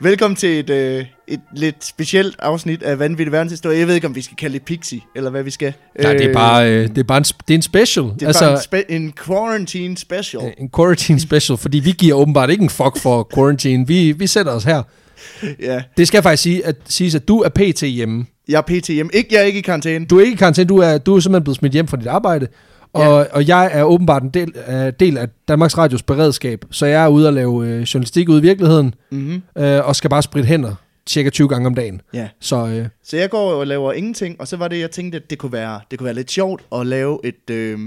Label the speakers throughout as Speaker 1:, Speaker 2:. Speaker 1: Velkommen til et, øh, et lidt specielt afsnit af Vanvittig Verdenshistorie. Jeg ved ikke, om vi skal kalde det Pixie, eller hvad vi skal.
Speaker 2: Nej, det er bare, øh, det er bare en, sp- det er en special.
Speaker 1: Det er altså, bare en, spe- en quarantine special.
Speaker 2: Øh, en quarantine special, fordi vi giver åbenbart ikke en fuck for quarantine. Vi, vi sætter os her. Øh.
Speaker 1: ja.
Speaker 2: Det skal faktisk sige, at, siges, at du er pt. hjemme.
Speaker 1: Jeg er PTM. Ikke, jeg er ikke i karantæne.
Speaker 2: Du er ikke i karantæne, du er, du er simpelthen blevet smidt hjem fra dit arbejde. Og, ja. og jeg er åbenbart en del, uh, del af Danmarks Radios beredskab, så jeg er ude og lave øh, journalistik ude i virkeligheden,
Speaker 1: Mm-hmm.
Speaker 2: øh, og skal bare spritte hænder cirka 20 gange om dagen.
Speaker 1: Ja.
Speaker 2: Så øh,
Speaker 1: Så jeg går og laver ingenting, og så var det, jeg tænkte, at det kunne være, det kunne være lidt sjovt at lave et... Øh,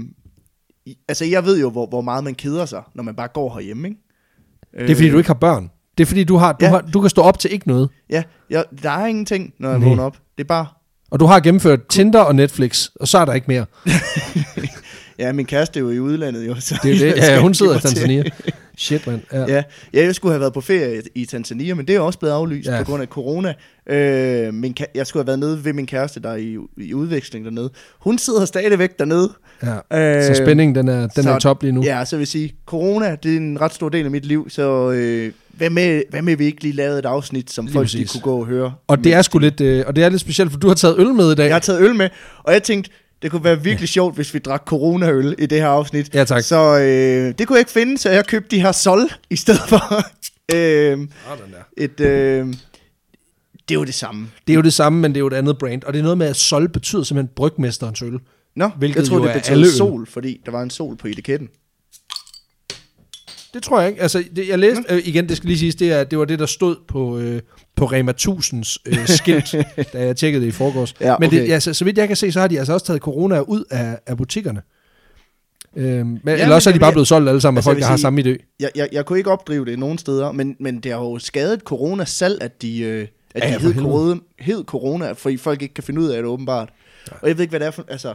Speaker 1: i- altså, jeg ved jo, hvor, hvor meget man keder sig, når man bare går herhjemme, ikke?
Speaker 2: det er fordi, du ikke har børn. Det er fordi, du, har, du,
Speaker 1: Øh. Ja.
Speaker 2: har, du kan stå op til ikke noget.
Speaker 1: Ja, jeg, der er ingenting, når jeg
Speaker 2: Nej.
Speaker 1: vågner op. Det er bare...
Speaker 2: Og du har gennemført Tinder og Netflix, og så er der ikke mere.
Speaker 1: Ja, min kæreste er jo i udlandet, jo. Så
Speaker 2: Det er jo det.
Speaker 1: jeg skal
Speaker 2: Ja, hun sidder i
Speaker 1: give mig til-
Speaker 2: Tanzania. Shit, mand. Ja.
Speaker 1: Ja. ja, jeg skulle have været på ferie i Tanzania, men det er også blevet aflyst ja.
Speaker 2: Ja.
Speaker 1: på grund af corona. Øh, min ka- jeg skulle have været nede ved min kæreste, der er i, i udveksling dernede. Hun sidder stadigvæk dernede.
Speaker 2: ja. Så
Speaker 1: Øh,
Speaker 2: spændingen, den er, den er
Speaker 1: så-
Speaker 2: top lige nu.
Speaker 1: Ja, så vil jeg sige, corona, det er en ret stor del af mit liv, så øh, hvad, med, hvad med, vi ikke lige lavede et afsnit, som
Speaker 2: Lige
Speaker 1: folk de
Speaker 2: præcis.
Speaker 1: kunne gå og høre?
Speaker 2: Og det er sgu lidt, øh, og det er lidt specielt, for du har taget øl med i dag.
Speaker 1: Jeg har taget øl med, og jeg tænkte, det kunne være virkelig sjovt, hvis vi drak coronaøl i det her afsnit.
Speaker 2: Ja, tak.
Speaker 1: Så øh, det kunne jeg ikke finde, så jeg købte de her sol i stedet for. øh, et, øh, det er jo det samme.
Speaker 2: Det er jo det samme, men det er jo et andet brand. Og det er noget med, at sol betyder simpelthen brygmesterens øl.
Speaker 1: Nå,
Speaker 2: Hvilket
Speaker 1: jeg
Speaker 2: jo
Speaker 1: troede, det
Speaker 2: er alle øl.
Speaker 1: betød sol, fordi der var en sol på etiketten.
Speaker 2: Det tror jeg ikke. Altså, det, jeg læste, øh, igen, det skal lige siges, det, er, det var det, der stod på, øh, på Rema 1000's øh, skilt, da jeg tjekkede det i forgårs.
Speaker 1: Ja,
Speaker 2: Men det,
Speaker 1: okay.
Speaker 2: altså, så vidt jeg kan se, så har de altså også taget corona ud af, af butikkerne. Øhm, men, ja,
Speaker 1: men
Speaker 2: eller også er de
Speaker 1: jeg
Speaker 2: bare
Speaker 1: vil-
Speaker 2: blevet solgt alle sammen af
Speaker 1: altså, jeg
Speaker 2: folk,
Speaker 1: vil
Speaker 2: der har
Speaker 1: sige-
Speaker 2: samme idé.
Speaker 1: Jeg, jeg, jeg kunne ikke opdrive det nogen steder, men, men det har jo skadet corona selv, at de, øh, at
Speaker 2: Ja,
Speaker 1: de
Speaker 2: ja, for
Speaker 1: hed,
Speaker 2: helvede.
Speaker 1: corona, hed corona, fordi folk ikke kan finde ud af det åbenbart. Og jeg ved ikke, hvad det er for... Altså,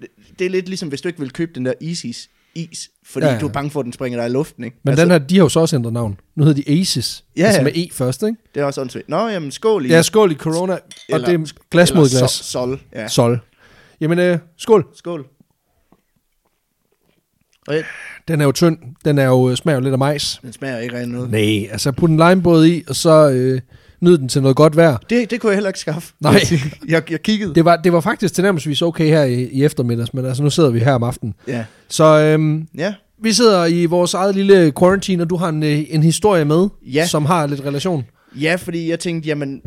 Speaker 1: det, det er lidt ligesom, hvis du ikke vil købe den der Isis is, fordi
Speaker 2: Ja,
Speaker 1: ja,
Speaker 2: ja.
Speaker 1: ja. du er bange for, at den springer dig i luften, ikke?
Speaker 2: Men
Speaker 1: altså,
Speaker 2: altså, den her, de har jo så også ændret navn. Nu hedder de Aces,
Speaker 1: Ja,
Speaker 2: altså
Speaker 1: ja.
Speaker 2: med E først, ikke?
Speaker 1: Det er også åndssvagt. Nå, jamen, skål i.
Speaker 2: Ja, skål i corona, og
Speaker 1: Eller-
Speaker 2: det er glas mod
Speaker 1: eller
Speaker 2: glas.
Speaker 1: So, sol, ja.
Speaker 2: Sol. Jamen, øh, skål.
Speaker 1: Skål. Og jeg,
Speaker 2: Den er jo tynd. Den er jo, øh, smager jo lidt af majs.
Speaker 1: den smager ikke rigtig noget.
Speaker 2: Nej, altså put en limebåd i, og så øh, nyd den til noget godt vejr.
Speaker 1: Det, det kunne jeg heller ikke skaffe.
Speaker 2: Nej.
Speaker 1: Jeg, jeg kiggede.
Speaker 2: Det var, det var faktisk tilnærmelsvis okay her i, i eftermiddags, men altså nu sidder vi her om aftenen.
Speaker 1: Ja.
Speaker 2: Så øhm,
Speaker 1: Ja.
Speaker 2: vi sidder i vores eget lille quarantine, og du har en, øh, en historie med,
Speaker 1: Ja.
Speaker 2: som har lidt relation.
Speaker 1: ja, fordi jeg tænkte, jamen,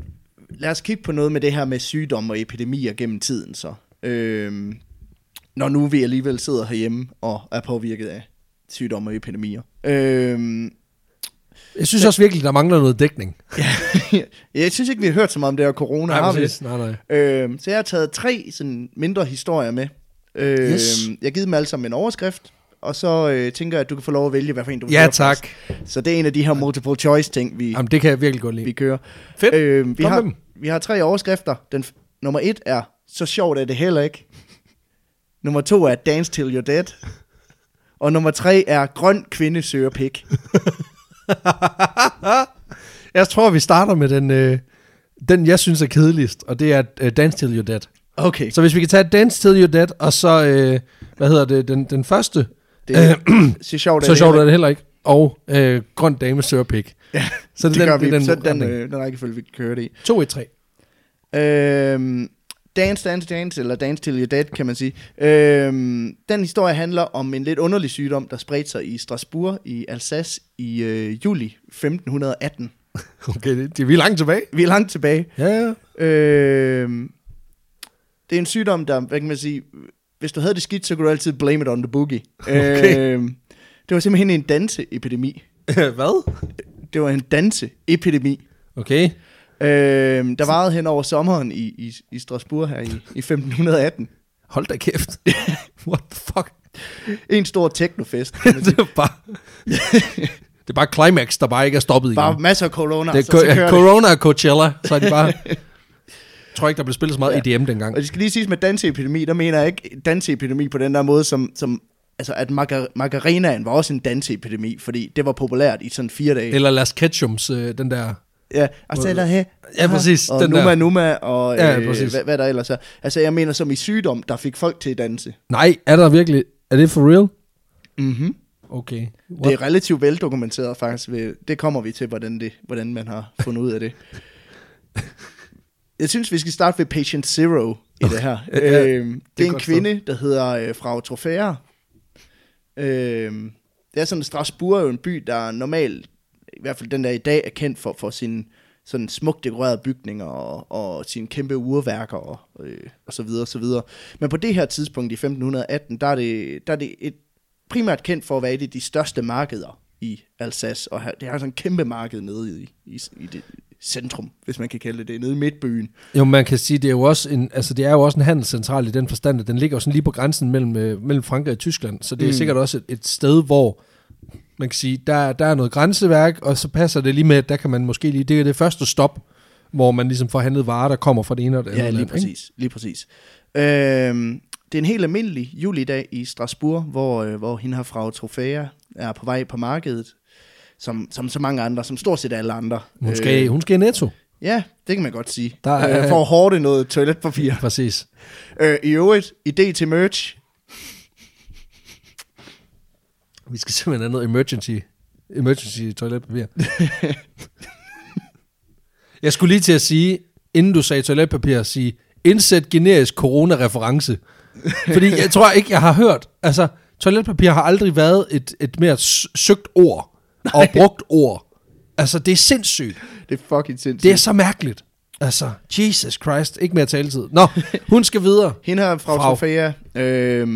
Speaker 1: lad os kigge på noget med det her med sygdomme og epidemier gennem tiden så. Øhm, når nu vi alligevel sidder herhjemme og er påvirket af sygdomme og epidemier. Øhm,
Speaker 2: Jeg synes også virkelig, der mangler noget dækning.
Speaker 1: jeg synes ikke, vi har hørt så meget om det her corona. har vi?
Speaker 2: Nej, nej.
Speaker 1: Øhm, så jeg har taget tre sådan, mindre historier med. Øhm,
Speaker 2: Yes.
Speaker 1: yes. Jeg har givet dem alle sammen en overskrift, og så øh, tænker jeg, at du kan få lov at vælge, hvad for en du vil
Speaker 2: Ja
Speaker 1: høre
Speaker 2: tak.
Speaker 1: først. Så det er en af de her multiple choice ting, vi,
Speaker 2: Jamen, det kan jeg virkelig godt lide. Øh,
Speaker 1: vi kører.
Speaker 2: Fedt.
Speaker 1: Øhm, vi,
Speaker 2: Kom med
Speaker 1: har,
Speaker 2: dem.
Speaker 1: vi har tre overskrifter. Den f- nummer et er, så sjovt er det heller ikke. Nummer to er, dance till you're dead. Og nummer tre er, grøn kvinde søger pik.
Speaker 2: Jeg tror, vi starter med den, øh, den jeg synes er kedeligst, og det er øh, Dance Till You're Dead.
Speaker 1: Okay.
Speaker 2: Så hvis vi kan tage Dance Till You're Dead, og så, øh, hvad hedder det, den, den første, øh,
Speaker 1: Det er, så sjovt er
Speaker 2: så
Speaker 1: det
Speaker 2: sjovt
Speaker 1: heller
Speaker 2: er det heller ikke, og øh, Grøn Dame Søger Pik. Ja, så
Speaker 1: ikke. Det gør vi.
Speaker 2: er
Speaker 1: så den,
Speaker 2: retning.
Speaker 1: øh, den rækkefølge, vi kan køre det i.
Speaker 2: 2 1 3.
Speaker 1: Øhm, Dance, Dance, Dance, eller Dance Till You're Dead, kan man sige. Øhm, den historie handler om en lidt underlig sygdom, der spredte sig i Strasbourg i Alsace i øh, juli 1518.
Speaker 2: Okay, det, det, vi er langt tilbage.
Speaker 1: Vi er langt tilbage.
Speaker 2: Ja, ja.
Speaker 1: Øhm, det er en sygdom, der, hvad kan man sige, hvis du havde det skidt, så kunne du altid blame it on the boogie.
Speaker 2: Okay.
Speaker 1: Øhm, det var simpelthen en danseepidemi.
Speaker 2: Hvad?
Speaker 1: Det var en danseepidemi.
Speaker 2: Okay.
Speaker 1: Øhm, der varede hen over sommeren i, i, i Strasbourg her i, i 1518.
Speaker 2: Hold da kæft. What the fuck?
Speaker 1: En stor teknofest. kan man sige.
Speaker 2: Det er bare... det er bare climax, der bare ikke er stoppet igen.
Speaker 1: Bare masser af corona,
Speaker 2: det er
Speaker 1: så, så kører
Speaker 2: co-
Speaker 1: det.
Speaker 2: corona og Coachella, så er de bare... Jeg tror ikke, der blev spillet så meget EDM dengang.
Speaker 1: Og det skal lige siges med danseepidemi, der mener jeg ikke danseepidemi på den der måde, som, som altså at margar- margarinaen var også en danseepidemi, fordi det var populært i sådan fire dage.
Speaker 2: Eller Las Ketchums, øh, den der...
Speaker 1: Ja, og så er der her.
Speaker 2: Ja, præcis,
Speaker 1: Og
Speaker 2: den
Speaker 1: Numa
Speaker 2: der.
Speaker 1: Numa, og
Speaker 2: Ja,
Speaker 1: ja, øh,
Speaker 2: præcis.
Speaker 1: hvad, hvad der ellers er. Altså jeg mener som i sygdom, der fik folk til at danse.
Speaker 2: Nej, er der virkelig... Er det for real?
Speaker 1: Mhm.
Speaker 2: Okay.
Speaker 1: Det er relativt veldokumenteret faktisk. ved- Det kommer vi til, hvordan, det, hvordan man har fundet ud af det. Jeg synes, vi skal starte ved patient zero i det her.
Speaker 2: Ja,
Speaker 1: øhm, det, det er en
Speaker 2: godt
Speaker 1: kvinde, der hedder øh, Frau Trofæer. Øhm, det er sådan, Strasbourg er jo en by, der normalt, i hvert fald den der i dag, er kendt for, for sine sådan smukt dekorerede bygninger og, og sine kæmpe urværker og, øh, og så videre og så videre. Men på det her tidspunkt i 1518, der er det, der er det et primært kendt for at være et af de største markeder i Alsace, og her- det har sådan en kæmpe marked nede i, i, i det centrum, hvis man kan kalde det det, nede i midtbyen.
Speaker 2: Jo, man kan sige, det er jo også en, altså, det er jo også en handelscentral i den forstand, at den ligger jo sådan lige på grænsen mellem, øh, mellem Frankrig og Tyskland, så det er
Speaker 1: Mm.
Speaker 2: mm. sikkert også et, et sted, hvor man kan sige, der, der er noget grænseværk, og så passer det lige med, at der kan man måske lige, det er det første stop, hvor man ligesom får handlet varer, der kommer fra det ene og det andet
Speaker 1: Ja, lige
Speaker 2: land, Øhm, ikke?
Speaker 1: præcis. Lige præcis. Øhm, det er en helt almindelig julidag i Strasbourg, hvor, øh, hvor hende her fra Trofæa er på vej på markedet, som, som så mange andre, som stort set alle andre.
Speaker 2: Hun skal, øh. hun skal i netto.
Speaker 1: ja, det kan man godt sige. Der
Speaker 2: Der er-
Speaker 1: er, øh, for at hårde noget toiletpapir.
Speaker 2: Præcis.
Speaker 1: Øh, I øvrigt, idé til merch.
Speaker 2: Vi skal simpelthen have noget emergency, emergency toiletpapir. jeg skulle lige til at sige, inden du sagde toiletpapir, at sige, indsæt generisk coronareference. Fordi jeg tror ikke, jeg har hørt, altså toiletpapir har aldrig været et, et mere s- søgt ord og brugt ord. Altså det er sindssygt.
Speaker 1: Det er fucking sindssygt.
Speaker 2: Det er så mærkeligt. Altså, Jesus Christ, ikke mere taletid. Nå, hun skal videre.
Speaker 1: Hende her fra
Speaker 2: Frau.
Speaker 1: Sofia, øh,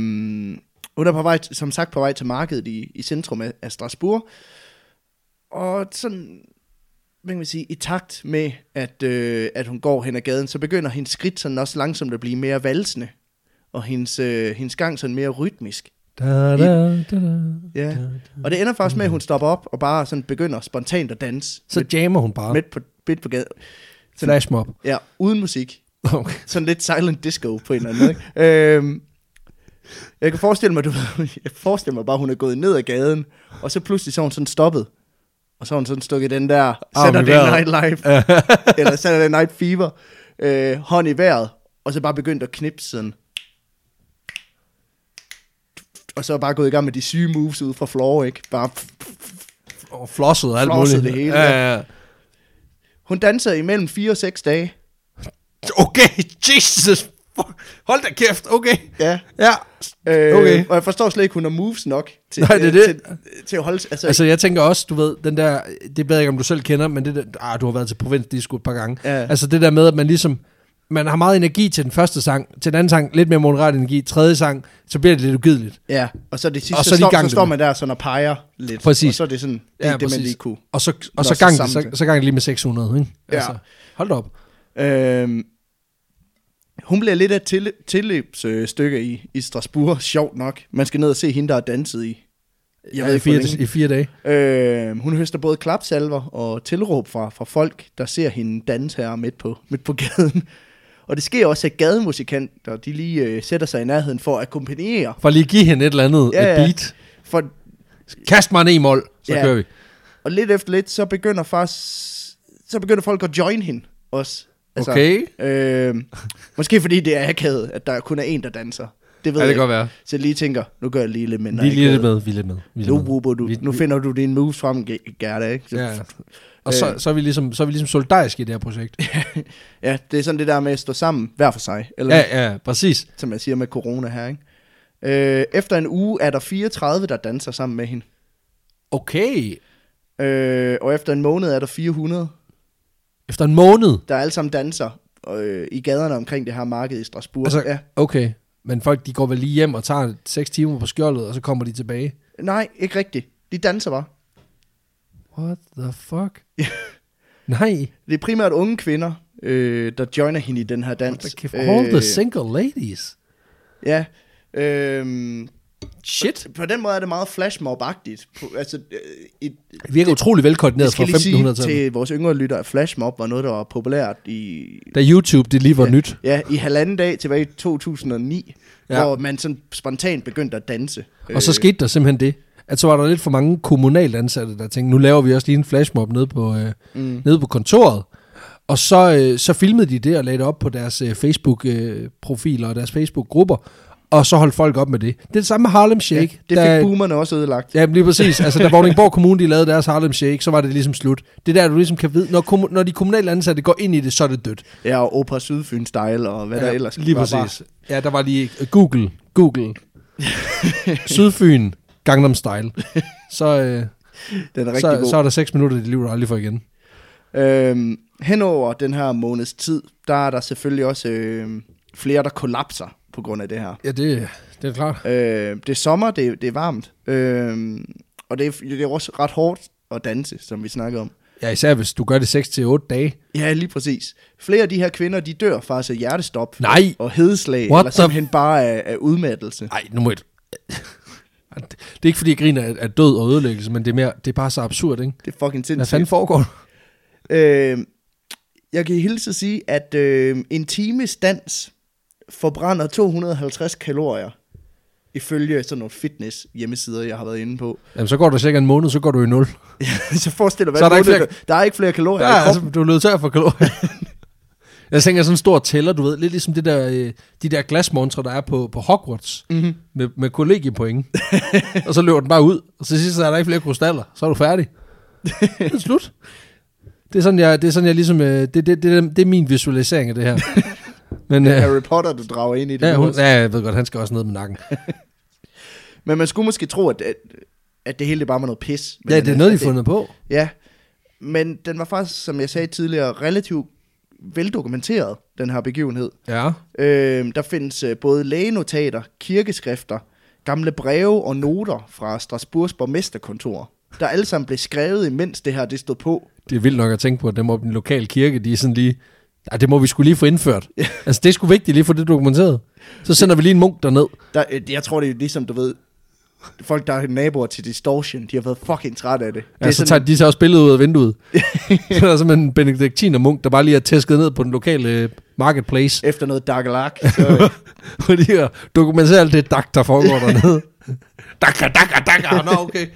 Speaker 1: hun er på vej, som sagt på vej til markedet i, i centrum af, af Strasbourg. Og sådan, hvad kan man sige, i takt med, at, øh, at hun går hen ad gaden, så begynder hendes skridt sådan også langsomt at blive mere valsende. Og hendes, øh, hendes gang sådan mere rytmisk.
Speaker 2: Da, da, da, da.
Speaker 1: Ja. Og det ender faktisk med, at hun stopper op og bare sådan begynder spontant at danse.
Speaker 2: Så jammer hun bare.
Speaker 1: midt på, midt på gaden. Sådan,
Speaker 2: Flashmob.
Speaker 1: ja, uden musik.
Speaker 2: Okay.
Speaker 1: sådan lidt silent disco på en eller anden måde. Ikke? Øhm, jeg kan forestille mig, du, jeg forestiller mig bare, at hun er gået ned ad gaden, og så pludselig så er hun sådan stoppet. Og så har hun sådan stukket den der
Speaker 2: i vejret.
Speaker 1: Saturday Night Live, eller Saturday Night Fever, øh, hånd i vejret, og så bare begyndt at knipse sådan. Og så bare gået i gang med de syge moves ude fra floor, ikke? Bare
Speaker 2: og flosset og alt
Speaker 1: Flosset
Speaker 2: muligt.
Speaker 1: det hele,
Speaker 2: ja. ja.
Speaker 1: hun danser imellem 4 og 6 dage.
Speaker 2: Okay, Jesus. Fuck. Hold da kæft, okay.
Speaker 1: Ja.
Speaker 2: Ja.
Speaker 1: Øh,
Speaker 2: Okay.
Speaker 1: Og jeg forstår slet ikke, hun har moves nok til,
Speaker 2: Nej, det er det.
Speaker 1: til, til at holde... Altså,
Speaker 2: Altså, jeg tænker også, du ved, den der, det ved jeg ikke, om du selv kender, men det der, ah, du har været til provinsdisco et par gange.
Speaker 1: Ja.
Speaker 2: Altså, det der med, at man ligesom, man har meget energi til den første sang, til den anden sang, lidt mere moderat energi, tredje sang, så bliver det lidt ugideligt.
Speaker 1: Ja, og så det sidste,
Speaker 2: Og
Speaker 1: så,
Speaker 2: så er de i
Speaker 1: står,
Speaker 2: gang
Speaker 1: så
Speaker 2: med
Speaker 1: står
Speaker 2: det.
Speaker 1: man der sådan og peger lidt.
Speaker 2: Præcis.
Speaker 1: Og så er det sådan, det,
Speaker 2: Ja,
Speaker 1: ja, det man
Speaker 2: præcis.
Speaker 1: lige kunne.
Speaker 2: Og så,
Speaker 1: Nå,
Speaker 2: og så,
Speaker 1: så
Speaker 2: gang, det,
Speaker 1: sammen
Speaker 2: så,
Speaker 1: til.
Speaker 2: så gang det lige med 600, ikke?
Speaker 1: Ja.
Speaker 2: Altså, hold da op.
Speaker 1: Øhm, hun bliver lidt af et til, tilløbsstykke i, i Strasbourg, sjovt nok. Man skal ned og se hende, der har danset i. Jeg ved
Speaker 2: i,
Speaker 1: ikke, hvor
Speaker 2: fire, I fire dage.
Speaker 1: længe. Øhm, hun høster både klapsalver og tilråb fra, fra folk, der ser hende danse her midt på, midt på gaden. Og det sker også, at gademusikanter, de lige øh, sætter sig i nærheden for at akkompagnere.
Speaker 2: For lige at give hende et eller andet
Speaker 1: Ja,
Speaker 2: ja,
Speaker 1: ja.
Speaker 2: et beat.
Speaker 1: For
Speaker 2: Kast mig en e-mol, så
Speaker 1: Ja.
Speaker 2: kører vi.
Speaker 1: Og lidt efter lidt, så begynder faktisk, så begynder folk at join hende også. Altså,
Speaker 2: Okay.
Speaker 1: Øh, måske fordi det er akavet, at der kun er en, der danser. Det ved
Speaker 2: Ja, det
Speaker 1: jeg
Speaker 2: kan godt
Speaker 1: ikke.
Speaker 2: være.
Speaker 1: Så jeg lige tænker, nu gør jeg lige lidt mindre
Speaker 2: Vi er lige lidt
Speaker 1: akavet.
Speaker 2: med, vi er lidt med. vi er lidt
Speaker 1: Nu,
Speaker 2: med.
Speaker 1: Rubo, du,
Speaker 2: Vi-
Speaker 1: nu finder du dine moves frem, Ge- Gerda, ikke? Så-
Speaker 2: Ja. ja. Og så, så, er vi ligesom, så er vi ligesom solidariske i det her projekt.
Speaker 1: Øh. ja, det er sådan det der med at stå sammen, hver for sig. Eller ja.
Speaker 2: ja, ja, præcis.
Speaker 1: som jeg siger med corona her, ikke? Øh, efter en uge er der 34, der danser sammen med hende.
Speaker 2: Okay.
Speaker 1: Øh, og efter en måned er der 400,
Speaker 2: Efter en måned.
Speaker 1: der alle sammen danser øh, i gaderne omkring det her marked i Strasbourg.
Speaker 2: Altså,
Speaker 1: ja.
Speaker 2: Okay. Men folk, de går vel lige hjem og tager 6 timer på skjoldet, og så kommer de tilbage.
Speaker 1: Nej, ikke rigtigt. De danser bare.
Speaker 2: What the fuck? Nej.
Speaker 1: Det er primært unge kvinder, øh, der joiner hende i den her
Speaker 2: What
Speaker 1: dans. Øh,
Speaker 2: the kæft? All the single ladies.
Speaker 1: ja. Øh,
Speaker 2: Shit.
Speaker 1: på den måde er det meget flashmob-agtigt. På- Altså, øh, et,
Speaker 2: Det virker utrolig
Speaker 1: jeg
Speaker 2: velkoordineret fra
Speaker 1: skal lige sige
Speaker 2: 1500-tallet.
Speaker 1: til vores yngre lytter, at flashmob var noget, der var populært i
Speaker 2: Da YouTube, det lige var nyt.
Speaker 1: Ja, i halvanden dag tilbage i 2009, ja.
Speaker 2: Ja.
Speaker 1: hvor man sådan spontant begyndte at danse.
Speaker 2: Og så
Speaker 1: Øh,
Speaker 2: skete der simpelthen det, at så var der lidt for mange kommunalt ansatte, der tænkte, nu laver vi også lige en flashmob nede på, øh, mm. nede på kontoret. Og øh, så, øh, så filmede de det og lagde det op på deres øh, Facebook-profiler og deres Facebook-grupper. og så holdt folk op med det. Det er det samme med Harlem Shake.
Speaker 1: Ja, det fik
Speaker 2: der,
Speaker 1: boomerne også ødelagt.
Speaker 2: Ja, men lige præcis. Altså, da Vordingborg Kommune de lavede deres Harlem Shake, så var det ligesom slut. Det er der, du ligesom kan vide, når, kommu- når de kommunale ansatte går ind i det, så er det dødt.
Speaker 1: Ja, og Opera Sydfyn Style og hvad ja, der ellers
Speaker 2: Lige
Speaker 1: var bare-
Speaker 2: præcis. Ja, der var lige Google, Google, Sydfyn, Gangnam Style. Så, øh,
Speaker 1: Den er rigtig
Speaker 2: så,
Speaker 1: god.
Speaker 2: så er der 6 minutter i dit liv, du aldrig får igen.
Speaker 1: Øhm, henover den her måneds tid, der er der selvfølgelig også øhm, flere, der kollapser på grund af det her.
Speaker 2: Ja, det, det er klart.
Speaker 1: Øh, det er sommer, det, er- det er varmt, øh, og det er, det er også ret hårdt at danse, som vi snakker om.
Speaker 2: Ja, især hvis du gør det 6-8 dage.
Speaker 1: Ja, lige præcis. Flere af de her kvinder, de dør faktisk af hjertestop
Speaker 2: Nej.
Speaker 1: og hedeslag,
Speaker 2: What
Speaker 1: eller
Speaker 2: the-
Speaker 1: simpelthen bare af, af udmattelse.
Speaker 2: Nej, nu må jeg... Det er ikke, fordi jeg griner af af død og ødelæggelse, men det er, mere, det er bare så absurd, ikke?
Speaker 1: Det er fucking
Speaker 2: Hvad
Speaker 1: sindssygt.
Speaker 2: fanden foregår der?
Speaker 1: Øh, jeg kan hilse at sige, at øh, en times dans forbrænder 250 kalorier, ifølge sådan nogle fitness hjemmesider, jeg har været inde på.
Speaker 2: Jamen, så går du cirka en måned, så går du i nul.
Speaker 1: så forestil dig, hvad
Speaker 2: Så er der
Speaker 1: der,
Speaker 2: ikke
Speaker 1: der, der er ikke flere kalorier
Speaker 2: Ja,
Speaker 1: i kroppen.
Speaker 2: altså, du er nødt til at få kalorier. Jeg tænker sådan en stor tæller, du ved, lidt ligesom det der, øh, de der glasmontre, der er på, på Hogwarts,
Speaker 1: Mhm.
Speaker 2: mm-hmm. med, med kollegiepoint. og så løber den bare ud, og så sidst så er der ikke flere krystaller, så er du færdig. Det er slut. Det er sådan, jeg, det er sådan, jeg ligesom, øh, det, det, det, det, det er min visualisering af det her. Men,
Speaker 1: Det er
Speaker 2: øh,
Speaker 1: Harry Potter, du drager ind i det.
Speaker 2: ja, hun,
Speaker 1: også.
Speaker 2: ja, jeg ved godt, han skal også ned med nakken.
Speaker 1: Men man skulle måske tro, at, at, at det hele det bare var noget pis. Men
Speaker 2: Ja, det er
Speaker 1: altså,
Speaker 2: noget, de har fundet på.
Speaker 1: Ja, men den var faktisk, som jeg sagde tidligere, relativt veldokumenteret, den her begivenhed.
Speaker 2: Ja.
Speaker 1: Øh, der findes øh, både lægenotater, kirkeskrifter, gamle breve og noter fra Strasbourgs borgmesterkontor, der alle sammen blev skrevet, imens det her det stod på.
Speaker 2: Det er vildt nok at tænke på, at dem oppe i den lokale kirke, de er sådan lige... Ej, det må vi skulle lige få indført. altså, det er sgu vigtigt lige at få det dokumenteret. Så sender vi lige en munk derned.
Speaker 1: Der, øh, jeg tror, det er ligesom, du ved, folk, der er naboer til Distortion, de har været fucking trætte af det. det
Speaker 2: Ja, så tager de så også billedet ud af vinduet. så er der simpelthen en benediktinermunk, der bare lige er tæsket ned på den lokale øh, marketplace,
Speaker 1: efter noget dagalak, så, øh,
Speaker 2: for lige at dokumentere alt det dak, der foregår dernede. dakka, dakka, dakka. Nå, okay.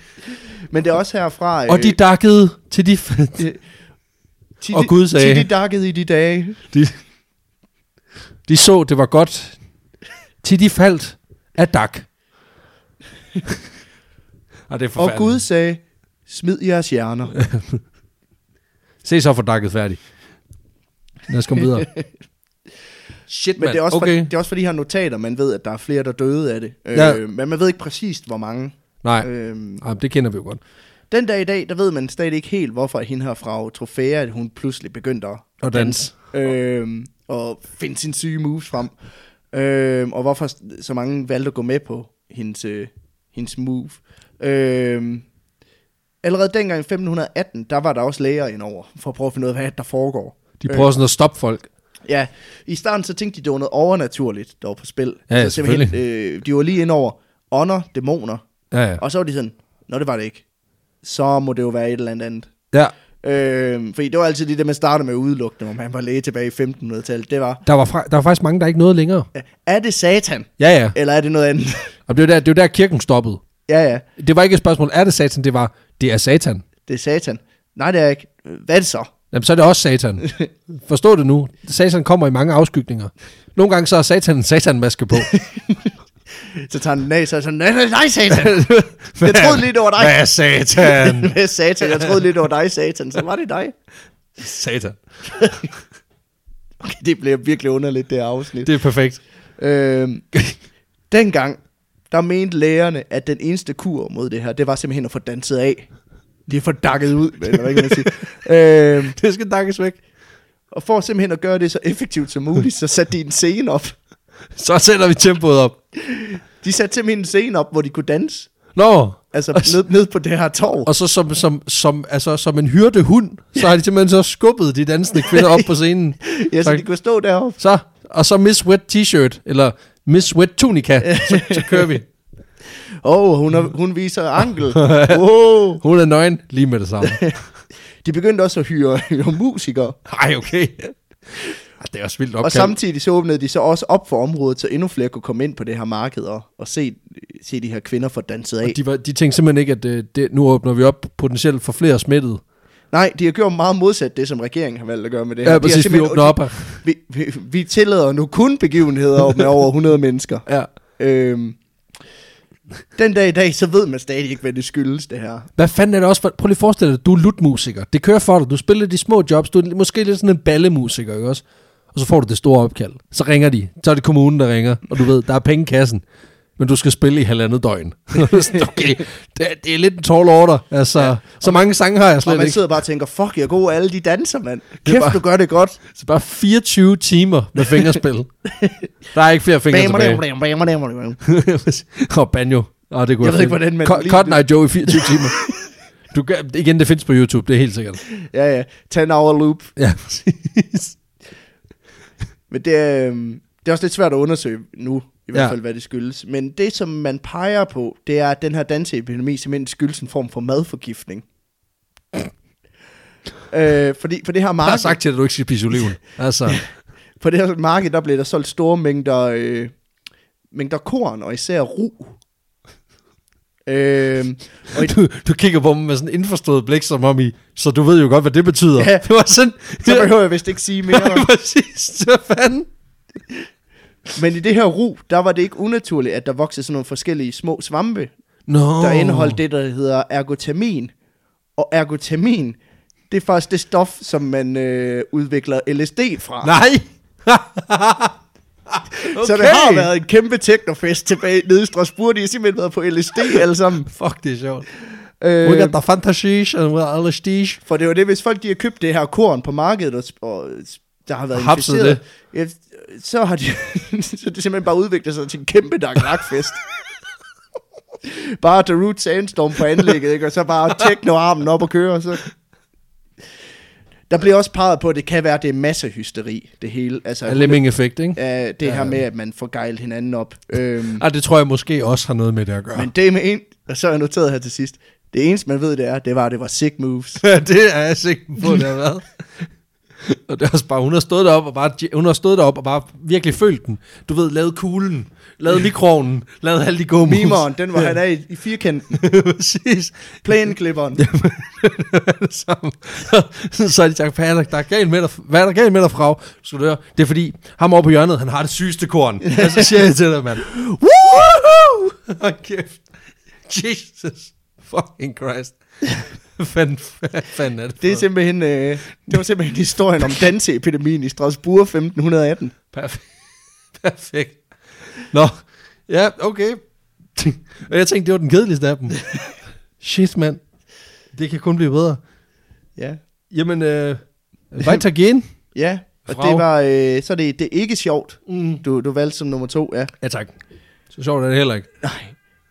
Speaker 1: Men det er også herfra...
Speaker 2: Og de
Speaker 1: øh,
Speaker 2: dakkede til de...
Speaker 1: til
Speaker 2: og
Speaker 1: de-
Speaker 2: Gud sagde-
Speaker 1: Til de dakkede i de dage.
Speaker 2: de, de så, det var godt, til de faldt af dak. og det er
Speaker 1: Og
Speaker 2: forfærdeligt.
Speaker 1: Gud sagde, smid jeres hjerner.
Speaker 2: Se så for dakket færdig. Lad os komme videre. Shit,
Speaker 1: Men det er, også okay.
Speaker 2: okay.
Speaker 1: for, det er også for de her notater, man ved, at der er flere, der døde af det. Øh,
Speaker 2: Ja.
Speaker 1: Men man ved ikke præcist, hvor mange.
Speaker 2: Nej,
Speaker 1: Øh,
Speaker 2: Ej, det kender vi jo godt.
Speaker 1: den dag i dag, der ved man stadig ikke helt, hvorfor hende her fra Trofæa, at hun pludselig begyndte at
Speaker 2: Og dans.
Speaker 1: Øh, og finde sine syge moves frem. Øh, og hvorfor så mange valgte at gå med på hendes, øh, hendes move. Øh, allerede dengang i 1518, der var der også læger indover, for at prøve at finde ud af, hvad der foregår.
Speaker 2: De prøver
Speaker 1: Øh.
Speaker 2: sådan at stoppe folk.
Speaker 1: Ja, i starten så tænkte de, det var noget overnaturligt, der var på spil.
Speaker 2: Ja, ja,
Speaker 1: så øh, de var lige ind over ånder, dæmoner,
Speaker 2: Ja, ja.
Speaker 1: og så var de sådan, nå det var det ikke, så må det jo være et eller andet andet.
Speaker 2: ja
Speaker 1: Øh, fordi det var altid det, der man startede med udelukkende, når man var læge tilbage i 1500-tallet. Det var,
Speaker 2: der, var fra, der var faktisk mange, der ikke nåede længere.
Speaker 1: øh, er det satan,
Speaker 2: Ja, ja.
Speaker 1: eller er det noget andet?
Speaker 2: Og det var der, det var der kirken stoppede.
Speaker 1: ja, ja,
Speaker 2: Det var ikke et spørgsmål, er det satan? Det var, det er satan.
Speaker 1: det er satan. Nej, det er ikke. Hvad er det så?
Speaker 2: Jamen, så er det også satan. Forstå det nu. Satan kommer i mange afskygninger. Nogle gange så har satan en satanmaske på.
Speaker 1: Så tager han den af, så er jeg sådan, nej, nej, nej, satan. Jeg troede lige, det var dig.
Speaker 2: Hvad er satan?
Speaker 1: Hvad er satan? Jeg troede lige, det var dig, satan. Så var det dig.
Speaker 2: satan.
Speaker 1: Okay, det bliver virkelig underligt, det her afsnit.
Speaker 2: Det er perfekt.
Speaker 1: Øhm, dengang, der mente lægerne, at den eneste kur mod det her, det var simpelthen at få danset af. De er for dakket ud, eller hvad kan man sige. øhm,
Speaker 2: Det skal dakkes væk.
Speaker 1: og for simpelthen at gøre det så effektivt som muligt, så satte de en scene op.
Speaker 2: Så sætter vi tempoet op.
Speaker 1: De satte simpelthen en scene op, hvor de kunne danse.
Speaker 2: Nå.
Speaker 1: Altså
Speaker 2: og, s-
Speaker 1: ned, ned på det her torv.
Speaker 2: og så som, som, som, altså, som en hyrdehund, så har de simpelthen så skubbet de dansende kvinder op på scenen.
Speaker 1: Ja, så
Speaker 2: tak.
Speaker 1: de kunne stå deroppe.
Speaker 2: Så, og så Miss Wet T-shirt, eller Miss Wet Tunica, så, så kører vi.
Speaker 1: Åh, oh, hun, har- hun viser ankel. Oh.
Speaker 2: Hun er nøgen lige med det samme.
Speaker 1: De begyndte også at hyre, hyre musikere.
Speaker 2: Ej, okay. Ej, Det er også vildt
Speaker 1: Og
Speaker 2: opkaldt.
Speaker 1: samtidig så åbnede de så også op for området, så endnu flere kunne komme ind på det her marked og, og se, se de her kvinder få danset af.
Speaker 2: Og de, var, de tænkte simpelthen ikke, at øh, det, nu åbner vi op potentielt for flere smittede.
Speaker 1: Nej, de har gjort meget modsat det, som regeringen har valgt at gøre med det her.
Speaker 2: Ja,
Speaker 1: De har
Speaker 2: præcis, vi
Speaker 1: simpelthen-
Speaker 2: åbner op. her.
Speaker 1: Vi, vi, vi tillader nu kun begivenheder med over 100 mennesker.
Speaker 2: Ja.
Speaker 1: Øhm, den dag i dag, så ved man stadig ikke, hvad det skyldes, det her.
Speaker 2: Hvad fanden er det også for... Prøv lige at forestille dig, du er lutmusiker. Det kører for dig. Du spiller de små jobs. Du er måske lidt sådan en ballemusiker, ikke også? Og så får du det store opkald. Så ringer de. Så er det kommunen, der ringer. Og du ved, der er penge i kassen. Men du skal spille i halvandet døgn. Sådan, okay, det, er- det er lidt en tall order. Altså, ja. så mange sange har jeg
Speaker 1: Og
Speaker 2: slet
Speaker 1: man
Speaker 2: ikke.
Speaker 1: sidder bare og tænker, fuck, jeg er god, alle de danser, mand.
Speaker 2: er
Speaker 1: Kæft,
Speaker 2: bare-
Speaker 1: du gør det godt.
Speaker 2: Så bare 24 timer med fingerspil. der er ikke flere fingre
Speaker 1: Bam, bam,
Speaker 2: tilbage.
Speaker 1: bam, bam, bam, bam, bam.
Speaker 2: og banjo. Og det kunne
Speaker 1: Jeg ved
Speaker 2: fedt.
Speaker 1: ikke, hvordan man
Speaker 2: Co-
Speaker 1: lige-
Speaker 2: Cotton Eye Joe i 24 timer. Du kan, igen, det findes på YouTube, det er helt sikkert.
Speaker 1: Ja, ja. 10 hour loop.
Speaker 2: Ja, præcis.
Speaker 1: Men det, er, øhm, det er også lidt svært at undersøge nu, i hvert
Speaker 2: Ja.
Speaker 1: ja. fald, hvad det skyldes. Men det, som man peger på, det er, at den her danseepidemi simpelthen skyldes en form for madforgiftning. øh, fordi, for det her
Speaker 2: Jeg har
Speaker 1: marked,
Speaker 2: sagt til dig, at du ikke skal spise oliven. Altså,
Speaker 1: på det her marked, der blev der solgt store mængder, øh, mængder korn, og især ru. Øh, og i
Speaker 2: du, du kigger på dem med sådan en indforstået blik, som om I, så du ved jo godt, hvad det betyder.
Speaker 1: Ja.
Speaker 2: Det var sådan,
Speaker 1: Så behøver jeg vist ikke sige mere.
Speaker 2: Nej, præcis, hvad fanden?
Speaker 1: Men i det her ru, der var det ikke unaturligt, at der voksede sådan nogle forskellige små svampe,
Speaker 2: No.
Speaker 1: der indeholdt det, der hedder ergotamin. Og ergotamin, det er faktisk det stof, som man øh, udvikler LSD fra.
Speaker 2: Nej. okay.
Speaker 1: Så det har været en kæmpe technofest tilbage nede i Strasbourg. De har simpelthen været på LSD alle sammen.
Speaker 2: Fuck, det er sjovt. We
Speaker 1: Øh,
Speaker 2: got the fantasy, and we got all the stige.
Speaker 1: for det var det, hvis folk de har købt det her korn på markedet, og, og der har været
Speaker 2: Hapset
Speaker 1: inficeret, ja, så har de, så det simpelthen bare udviklet sig til en kæmpe daglakfest. bare The Root Sandstorm på anlægget, ikke? og så bare techno-armen op og køre. Så. Der bliver også peget på, at det kan være, at det er massehysteri, det hele. Altså,
Speaker 2: Ja, Lemming-effekt, ikke?
Speaker 1: ja, det her med, at man får gejlet hinanden op. Øhm,
Speaker 2: Ah, det tror jeg måske også har noget med det at gøre.
Speaker 1: men det med en, og så er jeg noteret her til sidst, det eneste, man ved, det er, det var, at det var sick moves.
Speaker 2: Ja, det er jeg sikker på, det har været. Og det er også bare, hun har stået deroppe og bare, hun har stået deroppe og bare virkelig følt den. Du ved, lavet kuglen, lavet mikroovnen, lavet alle de gode moves.
Speaker 1: Mimeren, den var han af i, i firkanten.
Speaker 2: Præcis.
Speaker 1: Plæneklipperen.
Speaker 2: Som, så har de sagt, Patrick, der er galt med dig, hvad er der galt med dig, frag? Skal du høre? Det er fordi, ham over på hjørnet, han har det sygeste korn. Og så siger jeg til dig, mand. Woohoo! Hold kæft. Jesus fucking Christ. Fanden, hvad fanden er det
Speaker 1: Det, er
Speaker 2: for-
Speaker 1: simpelthen, øh, det var simpelthen historien om danseepidemien i Strasbourg 1518.
Speaker 2: Perfekt. Perfekt. Nå, ja, okay. Og jeg tænkte, det var den kedeligste af dem. Shit, mand. Det kan kun blive bedre.
Speaker 1: Ja.
Speaker 2: Jamen, øh, weiter gehen.
Speaker 1: Ja, og
Speaker 2: Frag.
Speaker 1: det var, øh, så er det, det er ikke sjovt,
Speaker 2: Mm.
Speaker 1: du, du valgte som nummer to, ja.
Speaker 2: Ja, tak. Så sjovt er det heller ikke.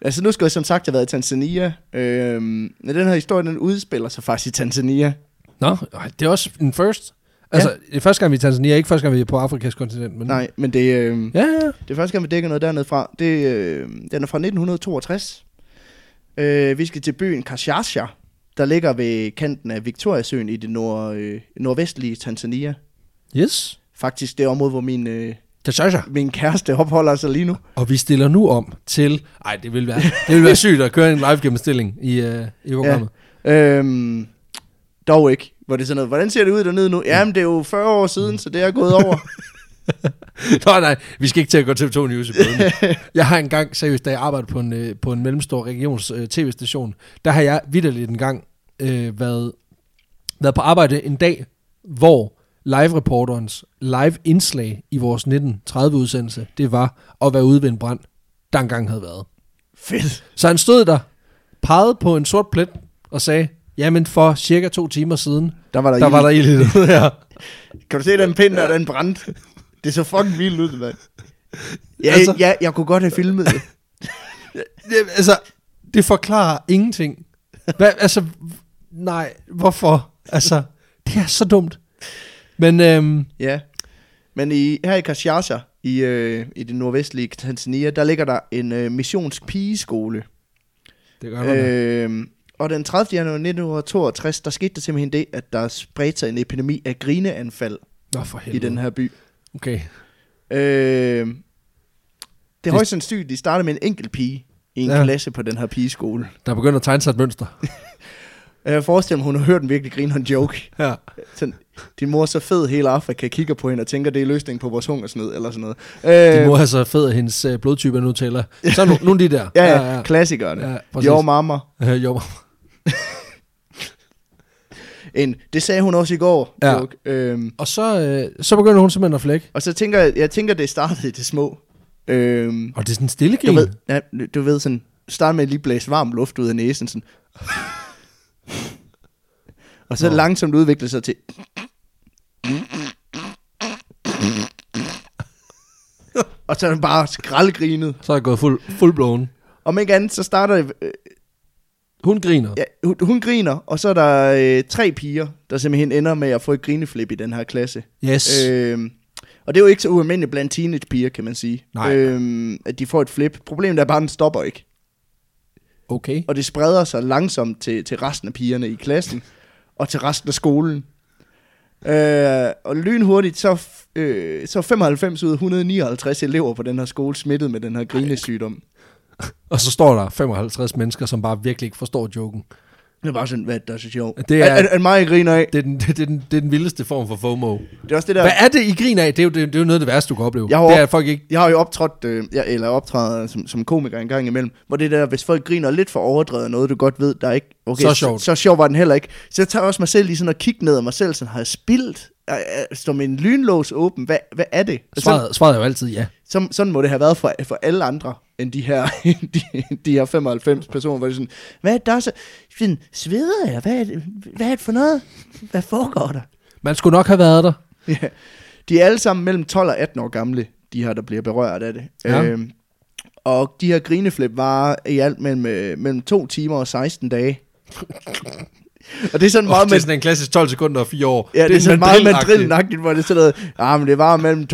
Speaker 1: Altså nu skal jeg som sagt have været i Tanzania, øhm, men den her historie, den udspiller sig faktisk i Tanzania.
Speaker 2: Nå, ej, det er også en first. Altså, ja. det er første gang, vi er i Tanzania, ikke første gang, vi er på Afrikas kontinent. Men...
Speaker 1: Nej, men det, øhm,
Speaker 2: Ja, ja.
Speaker 1: det er første gang, vi dækker noget dernede fra. Det, øh, den er fra 1962. Øh, vi skal til byen Kashasha, der ligger ved kanten af Victoriasøen i det nord, øh, nordvestlige Tanzania.
Speaker 2: Yes.
Speaker 1: Faktisk det område, hvor min... Øh,
Speaker 2: Det synes jeg.
Speaker 1: min kæreste opholder sig lige nu.
Speaker 2: Og vi stiller nu om til... Ej, det vil være, det vil være sygt at køre en live gennemstilling i, øh, i programmet.
Speaker 1: Øhm, dog ikke. Hvor det er sådan noget, hvordan ser det ud dernede nu? Jamen, det er jo 40 år siden, så det er gået over.
Speaker 2: Nå nej, vi skal ikke til at gå TV2 News i bøden. Jeg har engang, seriøst, da jeg arbejdede på en, øh, på en mellemstor regions øh, tv-station, der har jeg vidderligt engang øh, været, været på arbejde en dag, hvor live-reporterens live-indslag i vores 1930-udsendelse, det var at være ude ved en brand, der engang havde været.
Speaker 1: Fedt.
Speaker 2: Så han stod der, pegede på en sort plet og sagde, jamen for cirka to timer siden,
Speaker 1: Der var der,
Speaker 2: der var der ild i det her.
Speaker 1: Kan du se den pind, der den brændt? Det så fucking vildt ud, mand. Ja,
Speaker 2: Altså-
Speaker 1: altså... ja, jeg kunne godt have filmet det.
Speaker 2: det, altså, det forklarer ingenting. Hvad, altså, nej, hvorfor? Altså, det er så dumt. Men øhm,
Speaker 1: Ja. Men i, her i Kashasha, i, øh, i det nordvestlige Tanzania, der ligger der en øh, missionsk pigeskole.
Speaker 2: det gør øh,
Speaker 1: Øh, og den 30. januar 1962, der skete der simpelthen det, at der spredte sig en epidemi af grineanfald
Speaker 2: Nå, for helvede.
Speaker 1: i den her by.
Speaker 2: Okay.
Speaker 1: Øh, det er
Speaker 2: Det-
Speaker 1: højst sandsynligt, de startede med en enkelt pige i en
Speaker 2: Ja.
Speaker 1: ja. klasse på den her pigeskole.
Speaker 2: Der begynder at tegne sig et mønster.
Speaker 1: Og Jeg forestiller mig, hun har hørt en virkelig grineren joke.
Speaker 2: Ja.
Speaker 1: Sådan, din mor er så fed, hele Afrika kigger på hende og tænker, det er løsningen på vores hungersnød, eller sådan noget. Øh,
Speaker 2: Din mor er så fed, at hendes øh, blodtype er nu tæller. Så nu, nogle af de der.
Speaker 1: Ja, ja, ja. klassikerne.
Speaker 2: Ja,
Speaker 1: Ja,
Speaker 2: præcis.
Speaker 1: jo, mamma.
Speaker 2: Øh, jo.
Speaker 1: En, det sagde hun også i går.
Speaker 2: Ja.
Speaker 1: joke. Øhm,
Speaker 2: Og så, øh, så begynder hun simpelthen at flække.
Speaker 1: og så tænker jeg, jeg tænker, det startede i det små. Øhm,
Speaker 2: Og det er sådan en stille
Speaker 1: du,
Speaker 2: grin.
Speaker 1: ved, ja, du ved sådan, start med at lige blæse varm luft ud af næsen. Sådan. og så
Speaker 2: Nå.
Speaker 1: langsomt udvikle sig til, og så er den bare skraldgrinet.
Speaker 2: Så er jeg gået fuld, fuld blown.
Speaker 1: Om ikke andet, så starter det, øh,
Speaker 2: Hun griner.
Speaker 1: Ja, hun, hun griner, og så er der øh, tre piger, der simpelthen ender med at få et grineflip i den her klasse.
Speaker 2: Yes.
Speaker 1: Øhm, og det er jo ikke så ualmindeligt blandt teenagepiger, kan man sige.
Speaker 2: Nej.
Speaker 1: Øhm, at de får et flip. Problemet er bare, at den stopper ikke.
Speaker 2: Okay.
Speaker 1: Og det spreder sig langsomt til, til resten af pigerne i klassen, og til resten af skolen. Øh, og lynhurtigt, så, f- øh, så er 95 ud af 159 elever på den her skole smittet med den her grinesygdom.
Speaker 2: Og så står der 55 mennesker, som bare virkelig ikke forstår joken.
Speaker 1: Det er bare sådan, hvad der er så sjovt.
Speaker 2: Det er-
Speaker 1: at, at, at mig griner af.
Speaker 2: Det er den, det er den, det er den vildeste form for FOMO.
Speaker 1: Det er også det der...
Speaker 2: Hvad er det, I griner af? Det er jo, det, det er jo noget af det værste, du kan opleve.
Speaker 1: Jeg har
Speaker 2: det er,
Speaker 1: op-
Speaker 2: at folk ikke...
Speaker 1: Jeg har jo optrådt, øh, jeg, eller optræder som, som komiker en gang imellem, hvor det der, hvis folk griner lidt for overdrevet af noget, du godt ved, der er ikke... Okay,
Speaker 2: Så sjovt.
Speaker 1: Så, så sjov var den heller ikke. Så jeg tager også mig selv lige sådan og kigge ned af mig selv, sådan har jeg spildt? Er- er- Står min lynlås åben? Hvad, hvad er det? Og Sådan,
Speaker 2: Svaret, svaret er jo altid ja.
Speaker 1: sådan, sådan må det have været for, for alle andre, end de her, de, de her 95 personer, hvor det er sådan, hvad er det, der er så... Sådan, sveder jeg? Hvad er, det, hvad er det for noget? Hvad foregår der?
Speaker 2: Man skulle nok have været der.
Speaker 1: Ja. De er alle sammen mellem 12 og 18 år gamle, de her, der bliver berørt af det.
Speaker 2: Ja.
Speaker 1: Øhm, og de her grineflip varer i alt mellem, øh, mellem 2 timer og 16 dage. og det er sådan meget,
Speaker 2: Oh, det er
Speaker 1: med,
Speaker 2: sådan en klassisk 12 sekunder og 4 år.
Speaker 1: ja, det er sådan meget
Speaker 2: mandrilagtigt.
Speaker 1: mandrillenagtigt, hvor det er sådan noget, ah, men det var mellem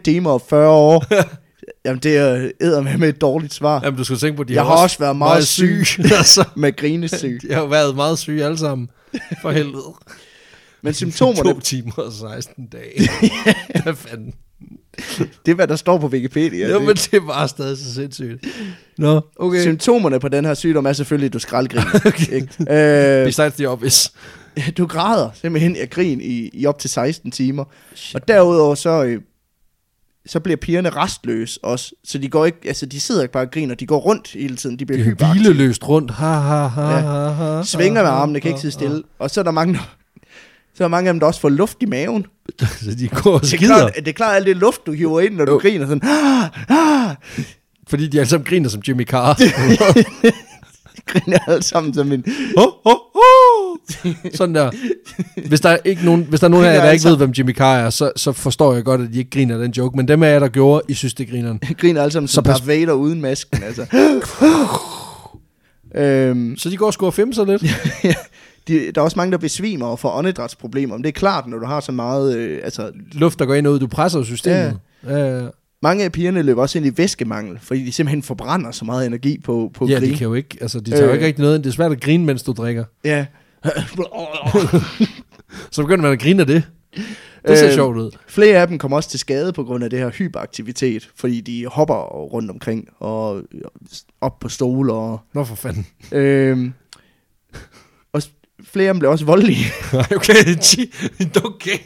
Speaker 1: 2-4 timer og 40 år. Jamen, det er æder med, med et dårligt svar.
Speaker 2: Jamen, du skulle tænke på, de
Speaker 1: Jeg har også været meget syg.
Speaker 2: altså,
Speaker 1: Med grinesyg.
Speaker 2: jeg har jo været meget syg alle sammen. For helvede.
Speaker 1: Men
Speaker 2: To
Speaker 1: symptomerne,
Speaker 2: timer og 16 dage. Hvad fanden?
Speaker 1: det er, hvad der står på Wikipedia.
Speaker 2: Ja,
Speaker 1: det-
Speaker 2: men det er bare stadig så sindssygt. Nå, okay.
Speaker 1: Symptomerne på den her sygdom er selvfølgelig, at du skraldgriner. okay. øh,
Speaker 2: Besides the obvious.
Speaker 1: du græder simpelthen af grin i, i op til 16 timer. Og derudover så, øh, så bliver pigerne restløse også. Så de, går ikke, altså, de sidder ikke bare og griner, de går rundt hele tiden. De bliver hyperaktive.
Speaker 2: Hvileløst rundt. Ha, ha, ha,
Speaker 1: Ja.
Speaker 2: ha, ha,
Speaker 1: Svinger med
Speaker 2: ha,
Speaker 1: armene, kan ikke sidde stille. Og så er der mange, så er der mange af dem, der også får luft i maven.
Speaker 2: ha. Så de går og
Speaker 1: Det er,
Speaker 2: skider,
Speaker 1: klart, det er klart, alt det luft, du hiver ind, når du griner sådan. Ah, ah,
Speaker 2: fordi de alle sammen griner som Jimmy Carr.
Speaker 1: griner alle sammen som en...
Speaker 2: Ho, ho, ho. Sådan der. Hvis der er ikke nogen, hvis der er nogen af jer, der
Speaker 1: Griner
Speaker 2: ikke ved, hvem Jimmy Carr er, så, så forstår jeg godt, at de ikke griner den joke. Men dem af jer, der gjorde, I synes, det griner.
Speaker 1: Griner alle sammen
Speaker 2: Så
Speaker 1: som
Speaker 2: pas-
Speaker 1: Darth Vader uden masken, altså. øhm,
Speaker 2: Så de går og scorer fem så lidt.
Speaker 1: de, der er også mange, der besvimer og får åndedrætsproblemer. Men det er klart, når du har så meget... Øh, altså,
Speaker 2: Luft, der går ind og ud. Du presser jo systemet. Ja. Ja,
Speaker 1: mange af pigerne løber også ind i væskemangel, fordi de simpelthen forbrænder så meget energi på, på
Speaker 2: ja de
Speaker 1: grin.
Speaker 2: kan jo ikke. Altså, de tager jo
Speaker 1: Øh.
Speaker 2: ikke rigtig noget ind. Det er svært at grine, mens du drikker.
Speaker 1: Ja.
Speaker 2: Så begynder man at grine af det. Det ser
Speaker 1: Øh.
Speaker 2: sjovt ud.
Speaker 1: Flere af dem kommer også til skade på grund af det her hyperaktivitet, fordi de hopper rundt omkring og op på stole. Og,
Speaker 2: Nå for fanden.
Speaker 1: øh, og s- flere af dem bliver også voldelige.
Speaker 2: okay, gee, okay.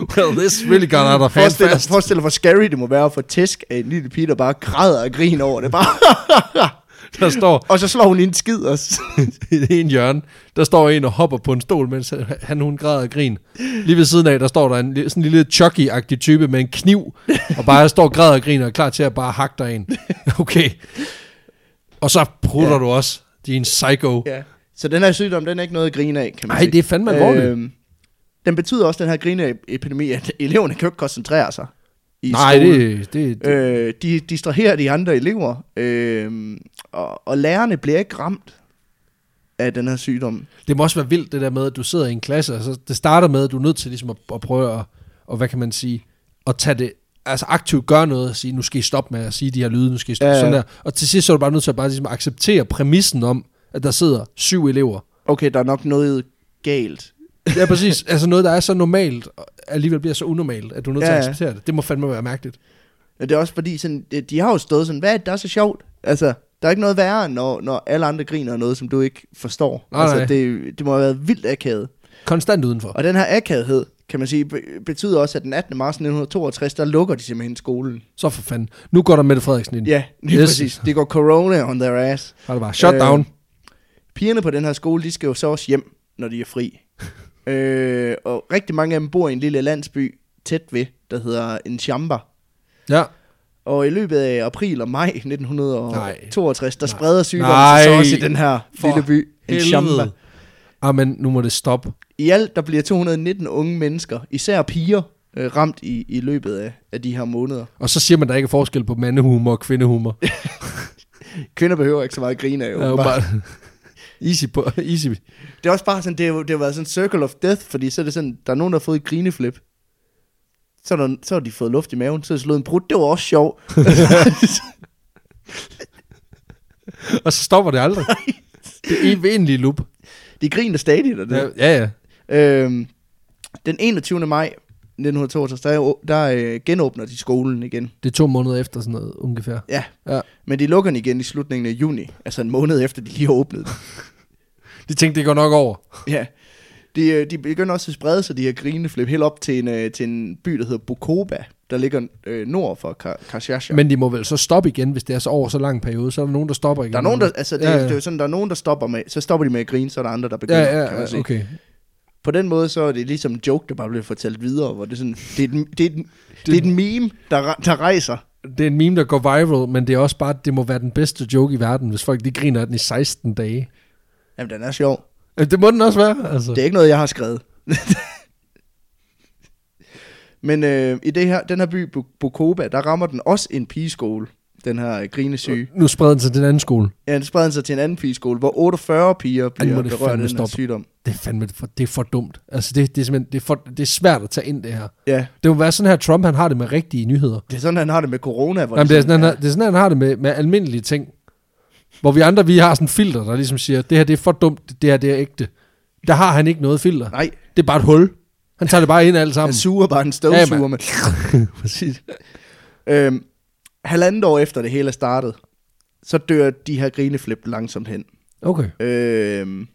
Speaker 2: Well, this really got out of hand
Speaker 1: Forestil dig,
Speaker 2: fast.
Speaker 1: forestil dig, hvor scary det må være at få tæsk af en lille pige, der bare græder og griner over det. Bare.
Speaker 2: Der står
Speaker 1: og så slår hun i en skid også.
Speaker 2: i en hjørne, der står en og hopper på en stol, mens han hun græder og grin. Lige ved siden af, der står der en li- sådan en lille chucky-agtig type med en kniv, og bare står og græder og griner og er klar til at bare hakke dig ind. Okay. Og så prutter
Speaker 1: Ja.
Speaker 2: ja. du også. Din psycho. Ja.
Speaker 1: Ja. Så den her sygdom, den er ikke noget at grine af, kan man
Speaker 2: Ej,
Speaker 1: sige.
Speaker 2: det er fandme alvorligt.
Speaker 1: Øhm, den betyder også, den her grineepidemi, at eleverne kan jo ikke koncentrere sig i
Speaker 2: Nej,
Speaker 1: skolen.
Speaker 2: det, det, det
Speaker 1: Øh, de distraherer de andre elever, øh, og, og lærerne bliver ikke ramt af den her sygdom.
Speaker 2: Det må også være vildt, det der med, at du sidder i en klasse, og så det starter med, at du er nødt til ligesom at, at prøve at, og hvad kan man sige, at tage det, altså aktivt gøre noget og sige, nu skal I stoppe med at sige de her lyde, nu skal I stoppe
Speaker 1: Ja,
Speaker 2: ja,
Speaker 1: ja.
Speaker 2: ja. sådan der. Og til sidst så er du bare nødt til at bare ligesom acceptere præmissen om, at der sidder syv elever.
Speaker 1: Okay, der er nok noget galt.
Speaker 2: Ja, præcis. altså noget, der er så normalt, og alligevel bliver så unormalt, at du er nødt
Speaker 1: Ja,
Speaker 2: ja, til
Speaker 1: ja.
Speaker 2: at acceptere det. Det må fandme være mærkeligt.
Speaker 1: Men det er også fordi, sådan, de- de har jo stået sådan, hvad er det, der er så sjovt? Altså, der er ikke noget værre, når, når alle andre griner af noget, som du ikke forstår.
Speaker 2: Nej,
Speaker 1: altså,
Speaker 2: nej.
Speaker 1: Det, det må have været vildt akavet.
Speaker 2: Konstant udenfor.
Speaker 1: Og den her akavighed, kan man sige, be- betyder også, at den 18. marts 1962, der lukker de simpelthen skolen.
Speaker 2: Så for fanden. Nu går der Mette Frederiksen ind.
Speaker 1: Ja, lige
Speaker 2: Yes.
Speaker 1: yes. præcis. Det går corona on their ass.
Speaker 2: Har det bare. Shut down.
Speaker 1: Øh, Pigerne på den her skole, de skal jo så også hjem, når de er fri. øh, og rigtig mange af dem bor i en lille landsby tæt ved, der hedder Enchamba.
Speaker 2: Ja.
Speaker 1: Og i løbet af april og maj 1962, der
Speaker 2: Nej.
Speaker 1: spreder sygdommen
Speaker 2: Nej.
Speaker 1: sig så også i den her
Speaker 2: For
Speaker 1: lille by, Enchamba.
Speaker 2: Ah, men nu må det stoppe.
Speaker 1: I alt, der bliver 219 unge mennesker, især piger, øh, ramt i, i løbet af, af de her måneder.
Speaker 2: Og så siger man, der ikke er forskel på mandehumor og kvindehumor.
Speaker 1: Kvinder behøver ikke så meget at grine af,
Speaker 2: Det er jo bare... easy på... Easy.
Speaker 1: Det er også bare sådan, det har, jo- det har været sådan en circle of death, fordi så er det sådan, der er nogen, der har fået et grineflip. Så, er der, så har de fået luft i maven, så har de slået en brud. Det var også sjovt.
Speaker 2: Og så stopper det aldrig. det er en venlig loop.
Speaker 1: De griner stadig, der det.
Speaker 2: Ja, ja.
Speaker 1: Ja. Øhm, den 21. maj 1962, der, der øh, genåbner de skolen igen.
Speaker 2: Det er to måneder efter sådan noget, ungefær.
Speaker 1: Ja.
Speaker 2: Ja.
Speaker 1: Men de lukker den igen i slutningen af juni, altså en måned efter, de lige har åbnet den.
Speaker 2: De tænkte, det går nok over.
Speaker 1: Ja. De, øh, de begynder også at sprede sig, de her grineflip, helt op til en, øh, til en by, der hedder Bukoba, der ligger øh, nord for Ka- Kashacha.
Speaker 2: Men de må vel så stoppe igen, hvis det er så over så lang periode. Så er der nogen, der stopper igen.
Speaker 1: Der er nogen, der, altså, det,
Speaker 2: Ja,
Speaker 1: ja,
Speaker 2: ja.
Speaker 1: ja. det er jo sådan, der er nogen, der stopper med, så stopper de med at grine, så er der andre, der begynder,
Speaker 2: Ja, ja,
Speaker 1: kan man
Speaker 2: ja
Speaker 1: sige.
Speaker 2: okay.
Speaker 1: På den måde, så er det ligesom en joke, der bare bliver fortalt videre, hvor det er sådan, det er den, det er den, det er den meme, der, re- der rejser.
Speaker 2: Det er en meme, der går viral, men det er også bare, det må være den bedste joke i verden, hvis folk de griner af den i 16 dage.
Speaker 1: Jamen, den er sjov.
Speaker 2: Øh, Det må den også være, altså.
Speaker 1: Det er ikke noget, jeg har skrevet. Men øh, i det her, den her by, Bu- Bukoba, der rammer den også en pigeskole, den her øh, grinesyge.
Speaker 2: Nu spreder den sig til den anden skole.
Speaker 1: Ja, den spreder den sig til en anden pigeskole, hvor 48 piger
Speaker 2: Ej,
Speaker 1: bliver
Speaker 2: må det
Speaker 1: berørt af
Speaker 2: fandme
Speaker 1: den her
Speaker 2: stoppe.
Speaker 1: sygdom.
Speaker 2: Det er fandme for, det er for dumt. Altså, det, det er simpelthen, det er, for, det er svært at tage ind, det her.
Speaker 1: Ja,
Speaker 2: Det må være sådan her, Trump han har det med rigtige nyheder.
Speaker 1: det er sådan, han har det med corona. Hvor
Speaker 2: Jamen, det, er sådan, han,
Speaker 1: ja.
Speaker 2: har- det er sådan, han har det med, med almindelige ting. Hvor vi andre, vi har sådan en filter, der ligesom siger, det her det er for dumt, det her det er ægte. Der har han ikke noget filter.
Speaker 1: Nej,
Speaker 2: Det er bare et hul. Han tager det bare ind alt sammen.
Speaker 1: han suger bare en
Speaker 2: Ja,
Speaker 1: støvsuger
Speaker 2: mand.
Speaker 1: med.
Speaker 2: Præcis.
Speaker 1: Øhm, halvandet år efter det hele er startet, så dør de her grineflip langsomt hen.
Speaker 2: Okay.
Speaker 1: Øhm,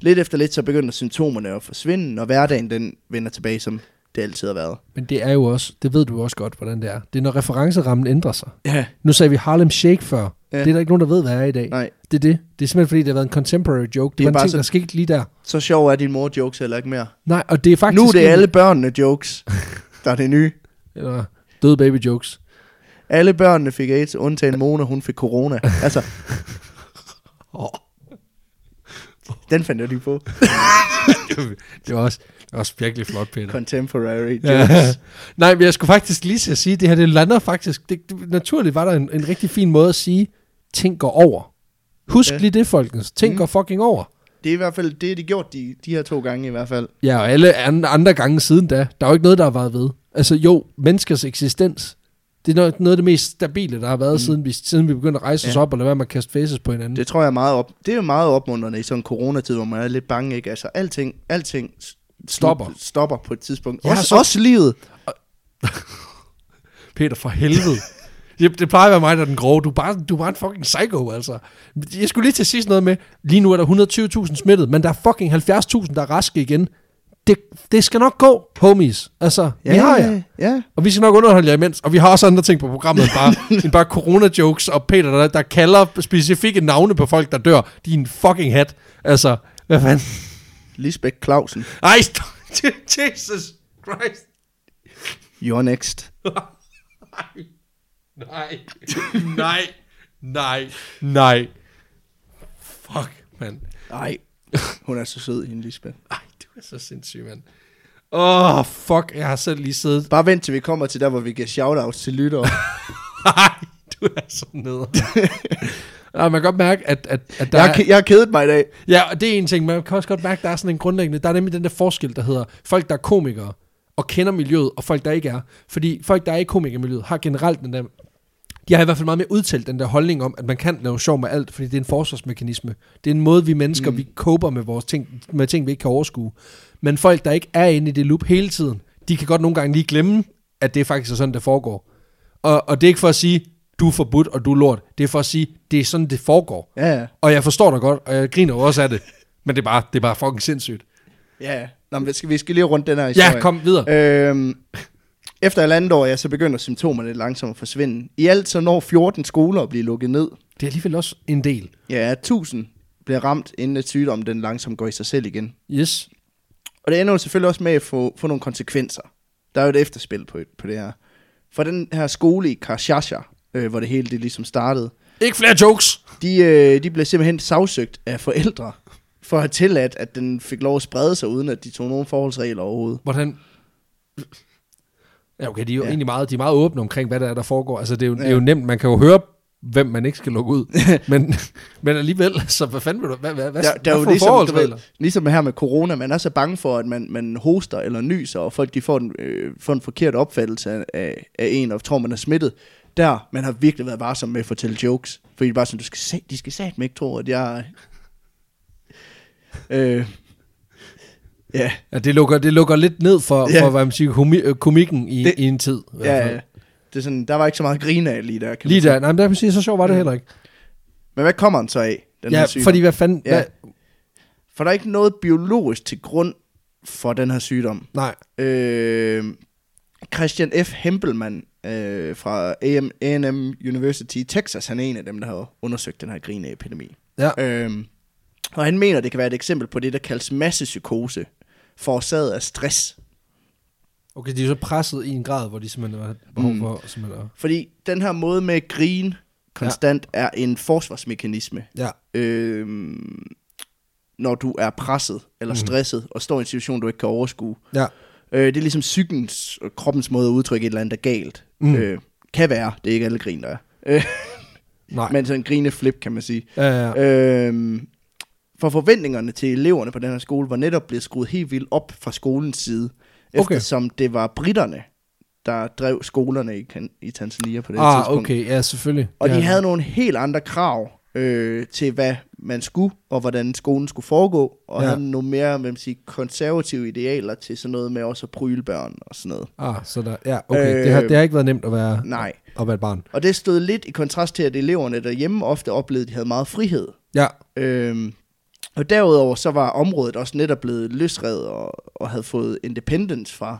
Speaker 1: lidt efter lidt, så begynder symptomerne at forsvinde, og hverdagen den vender tilbage, som det altid har været.
Speaker 2: Men det er jo også, det ved du også godt, hvordan det er. Det er, når referencerammen ændrer sig.
Speaker 1: Ja.
Speaker 2: Nu sagde vi Harlem Shake før. Ja.
Speaker 1: Ja.
Speaker 2: Det er der ikke nogen, der ved, hvad er i dag.
Speaker 1: Nej,
Speaker 2: Det er det. Det er simpelthen, fordi det har været en contemporary joke.
Speaker 1: Det
Speaker 2: Det, det
Speaker 1: er
Speaker 2: var en
Speaker 1: bare
Speaker 2: ting,
Speaker 1: sådan-
Speaker 2: der skete lige der.
Speaker 1: så sjov er din mor jokes heller ikke mere.
Speaker 2: Nej, og det er faktisk...
Speaker 1: nu er det
Speaker 2: en-
Speaker 1: alle børnene jokes, der er det nye.
Speaker 2: Eller døde baby jokes.
Speaker 1: Alle børnene fik AIDS, undtagen Mona, hun fik corona. Altså,
Speaker 2: Oh,
Speaker 1: den fandt jeg lige på.
Speaker 2: det, var også, det var også virkelig flot, Peter.
Speaker 1: Contemporary jokes.
Speaker 2: Ja. Nej, men jeg skulle faktisk lige til at sige, det her det lander faktisk... Det, det, naturligt var der en, en rigtig fin måde at sige, ting går over. Husk ja.
Speaker 1: Ja.
Speaker 2: lige det, folkens. Ting mm.
Speaker 1: Mm.
Speaker 2: går fucking over.
Speaker 1: Det er i hvert fald, det har de gjort de, de her to gange i hvert fald.
Speaker 2: Ja, og alle an- andre gange siden da, der er jo ikke noget, der har været ved. Altså jo, menneskers eksistens, det er noget, noget af det mest stabile, der har været, mm. siden, vi, siden vi begyndte at rejse ja. os
Speaker 1: Mhm. Ja.
Speaker 2: op og lade være med at kaste faces på hinanden. Det.
Speaker 1: Det tror jeg er meget op. Det er jo meget opmuntrende i sådan en coronatid, hvor man er lidt bange, ikke? Altså, alting, alting s-
Speaker 2: Stopper.
Speaker 1: slut- stopper på et tidspunkt.
Speaker 2: Ja,
Speaker 1: Ja, også,
Speaker 2: så-
Speaker 1: så... også livet.
Speaker 2: Peter, for helvede. det, det plejer at være mig, der er den grove. Du er, bare, du er bare en fucking psycho, altså. Jeg skulle lige til at sige sådan noget med, lige nu er der 120.000 smittet, men der er fucking 70.000, der er raske igen. Det, det skal nok gå, homies. Altså, ja, vi har jer.
Speaker 1: Ja,
Speaker 2: Og vi skal nok underholde jer imens. Og vi har også andre ting på programmet end bare, end bare corona-jokes og Peter, der, der kalder specifikke navne på folk, der dør. Din fucking hat. Altså, hvad fanden?
Speaker 1: Lisbeth Clausen,
Speaker 2: Ej, st- Jesus Christ.
Speaker 1: you're next.
Speaker 2: Nej. Nej. Nej. Nej. Fuck, mand.
Speaker 1: Nej, hun er så sød, hende Lisbeth.
Speaker 2: Ej, du er så sindssyg, mand. Åh, oh, fuck. Jeg har selv lige siddet
Speaker 1: Bare vent til vi kommer til der, hvor vi giver shoutouts til lyttere.
Speaker 2: Nej, du er så nede. Nej, man kan godt mærke, at, at, at der
Speaker 1: jeg, har ke- jeg har kedet mig i dag.
Speaker 2: er... Ja, og det er en ting, men man kan også godt mærke, at der er sådan en grundlæggende... Der er nemlig den der forskel, der hedder folk, der er komikere og kender miljøet, og folk, der ikke er. Fordi folk, der er i komikermiljøet, har generelt den der... De har i hvert fald meget mere udtalt den der holdning om, at man kan lave sjov med alt, fordi det er en forsvarsmekanisme. Det er en måde, vi mennesker, mm. vi koper med, vores ting, med ting, vi ikke kan overskue. Men folk, der ikke er inde i det loop hele tiden, de kan godt nogle gange lige glemme, at det faktisk er sådan, det foregår. Og, og det er ikke for at sige, du er forbudt, og du er lort. Det er for at sige, det er sådan, det foregår.
Speaker 1: Ja, ja.
Speaker 2: Og jeg forstår dig godt, og jeg griner jo også af det. Men det er bare, det er bare fucking sindssygt.
Speaker 1: Ja, ja. Nå, men vi skal, vi skal lige rundt den her historie.
Speaker 2: Ja, kom videre.
Speaker 1: Øhm, efter halvandet år, ja, så begynder symptomerne langsomt at forsvinde. I alt så når 14 skoler at blive lukket ned.
Speaker 2: Det er alligevel også en del.
Speaker 1: Ja, 1000 bliver ramt, inden at sygdommen den langsomt går i sig selv igen.
Speaker 2: Yes.
Speaker 1: Og det ender jo selvfølgelig også med at få, få nogle konsekvenser. Der er jo et efterspil på, på det her. For den her skole i Karshasha, øh, hvor det hele det ligesom startede,
Speaker 2: Ikke flere jokes.
Speaker 1: de, øh, de blev simpelthen sagsøgt af forældre for at have tilladt, at den fik lov at sprede sig, uden at de tog nogen forholdsregler overhovedet.
Speaker 2: Hvordan... Ja, okay, de er jo
Speaker 1: Ja.
Speaker 2: ja. egentlig meget, de er meget åbne omkring, hvad der er, der foregår. Altså, det er jo, ja. det er jo nemt. Man kan jo høre, hvem man ikke skal lukke ud. men, men alligevel, så hvad fanden vil du... Hvad, hvad, hvad,
Speaker 1: Der, der er jo
Speaker 2: hvad for
Speaker 1: ligesom, du ved,
Speaker 2: forholdsregler?
Speaker 1: ligesom her med corona, man er så bange for, at man, man hoster eller nyser, og folk de får, en, øh, får en forkert opfattelse af, af af en, og tror, man er smittet. Der, man har virkelig været varsom med at fortælle jokes. Fordi det er bare sådan, du skal se, de skal satme ikke tro, at jeg... øh, ja,
Speaker 2: Ja, det lukker, det lukker lidt ned for,
Speaker 1: Ja.
Speaker 2: ja. for hvad man siger, komi, øh, komikken i,
Speaker 1: Det-
Speaker 2: det, i en tid. i hvert
Speaker 1: ja,
Speaker 2: fald.
Speaker 1: ja. Det er sådan, der var ikke så meget grin af lige der. Kan man
Speaker 2: Lige
Speaker 1: sige.
Speaker 2: der. Nej, men der kan man sige, så sjovt var det heller ikke.
Speaker 1: Men hvad kommer den så af, den
Speaker 2: Ja,
Speaker 1: her sygdom?
Speaker 2: fordi hvad fanden...
Speaker 1: Ja.
Speaker 2: Ja. Hvad,
Speaker 1: For der er ikke noget biologisk til grund for den her sygdom.
Speaker 2: nej.
Speaker 1: Øh, Christian F. Hempelmann øh, fra AM, A&M University i Texas, han er en af dem, der har undersøgt den her grineepidemi.
Speaker 2: Ja.
Speaker 1: Øh, og han mener, det kan være et eksempel på det, der kaldes massepsykose, forårsaget af stress.
Speaker 2: Okay, de er så presset i en grad, hvor de simpelthen har behov for mm. simpelthen at...
Speaker 1: Fordi den her måde med at grine konstant ja. er en forsvarsmekanisme.
Speaker 2: Ja.
Speaker 1: Øh, når du er presset eller stresset mm. og står i en situation, du ikke kan overskue.
Speaker 2: Ja.
Speaker 1: Øh, det er ligesom psykens og kroppens måde at udtrykke et eller andet, der er galt. Mm.
Speaker 2: Mm.
Speaker 1: Øh, kan være, det er ikke alle grin, der er. Øh,
Speaker 2: Nej. Men,
Speaker 1: men sådan en grineflip, kan man sige.
Speaker 2: ja, ja.
Speaker 1: Ja. Øh, for forventningerne til eleverne på den her skole var netop blevet skruet helt vildt op fra skolens side.
Speaker 2: Okay.
Speaker 1: Eftersom det var britterne, der drev skolerne i, Kan- i Tanzania på det her
Speaker 2: Ah,
Speaker 1: tidspunkt.
Speaker 2: okay, ja, selvfølgelig.
Speaker 1: Og
Speaker 2: ja.
Speaker 1: de havde nogle helt andre krav øh, til, hvad man skulle, og hvordan skolen skulle foregå, og ja.
Speaker 2: Ja.
Speaker 1: havde nogle mere hvad man siger, konservative idealer til sådan noget med også at pryle børn og sådan noget.
Speaker 2: Ah, så der, ja, okay. Øh, det, har, det har ikke været nemt at være,
Speaker 1: Nej.
Speaker 2: at være et barn.
Speaker 1: Og det stod lidt i kontrast til, at eleverne derhjemme ofte oplevede, at de havde meget frihed.
Speaker 2: Ja,
Speaker 1: Øhm, og derudover så var området også netop blevet løsredet og, og havde fået independence fra.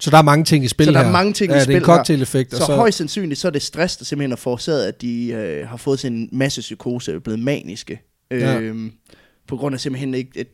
Speaker 2: så der er mange ting i spil
Speaker 1: Så der
Speaker 2: her.
Speaker 1: er mange ting
Speaker 2: ja,
Speaker 1: i
Speaker 2: det
Speaker 1: spil
Speaker 2: er en cocktail-effekt.
Speaker 1: her. Så,
Speaker 2: og
Speaker 1: så højst sandsynligt så er det stress, der simpelthen har forårsaget, at de øh, har fået sin masse psykose, er blevet maniske.
Speaker 2: Ja.
Speaker 1: Øhm, På grund af simpelthen ikke, at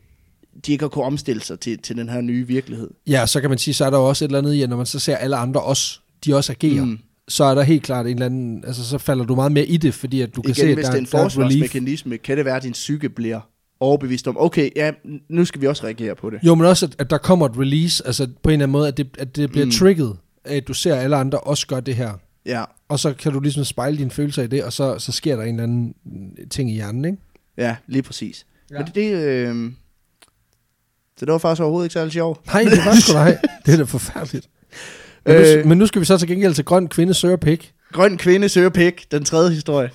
Speaker 1: de ikke har kunnet omstille sig til, til den her nye virkelighed.
Speaker 2: Ja, så kan man sige, så er der jo også et eller andet i, at når man så ser alle andre også, de også agerer, mm. så er der helt klart en eller anden, altså så falder du meget mere i det, fordi at du kan
Speaker 1: Igen,
Speaker 2: se, at
Speaker 1: hvis
Speaker 2: der,
Speaker 1: det er en
Speaker 2: der er et relief.
Speaker 1: forsvarsmekanisme, kan det være, at din psyke bliver overbevist om, okay, ja, nu skal vi også reagere på det.
Speaker 2: Jo, men også, at, at der kommer et release, altså på en eller anden måde, at det, at det bliver mm. trigget, af, at du ser, at alle andre også gør det her.
Speaker 1: Ja,
Speaker 2: Og så kan du ligesom spejle dine følelser i det, og så, så sker der en eller anden mm, ting i hjernen, ikke?
Speaker 1: ja lige præcis. Ja.
Speaker 2: Ja.
Speaker 1: Men det, det, øh, så det var faktisk overhovedet ikke særlig sjovt.
Speaker 2: Nej, det var sgu nej. Det er da forfærdeligt. Men, øh,
Speaker 1: Øh.
Speaker 2: nu, men nu skal vi så til gengæld til grøn kvinde søger pik.
Speaker 1: Grøn kvinde søger pik, den tredje historie.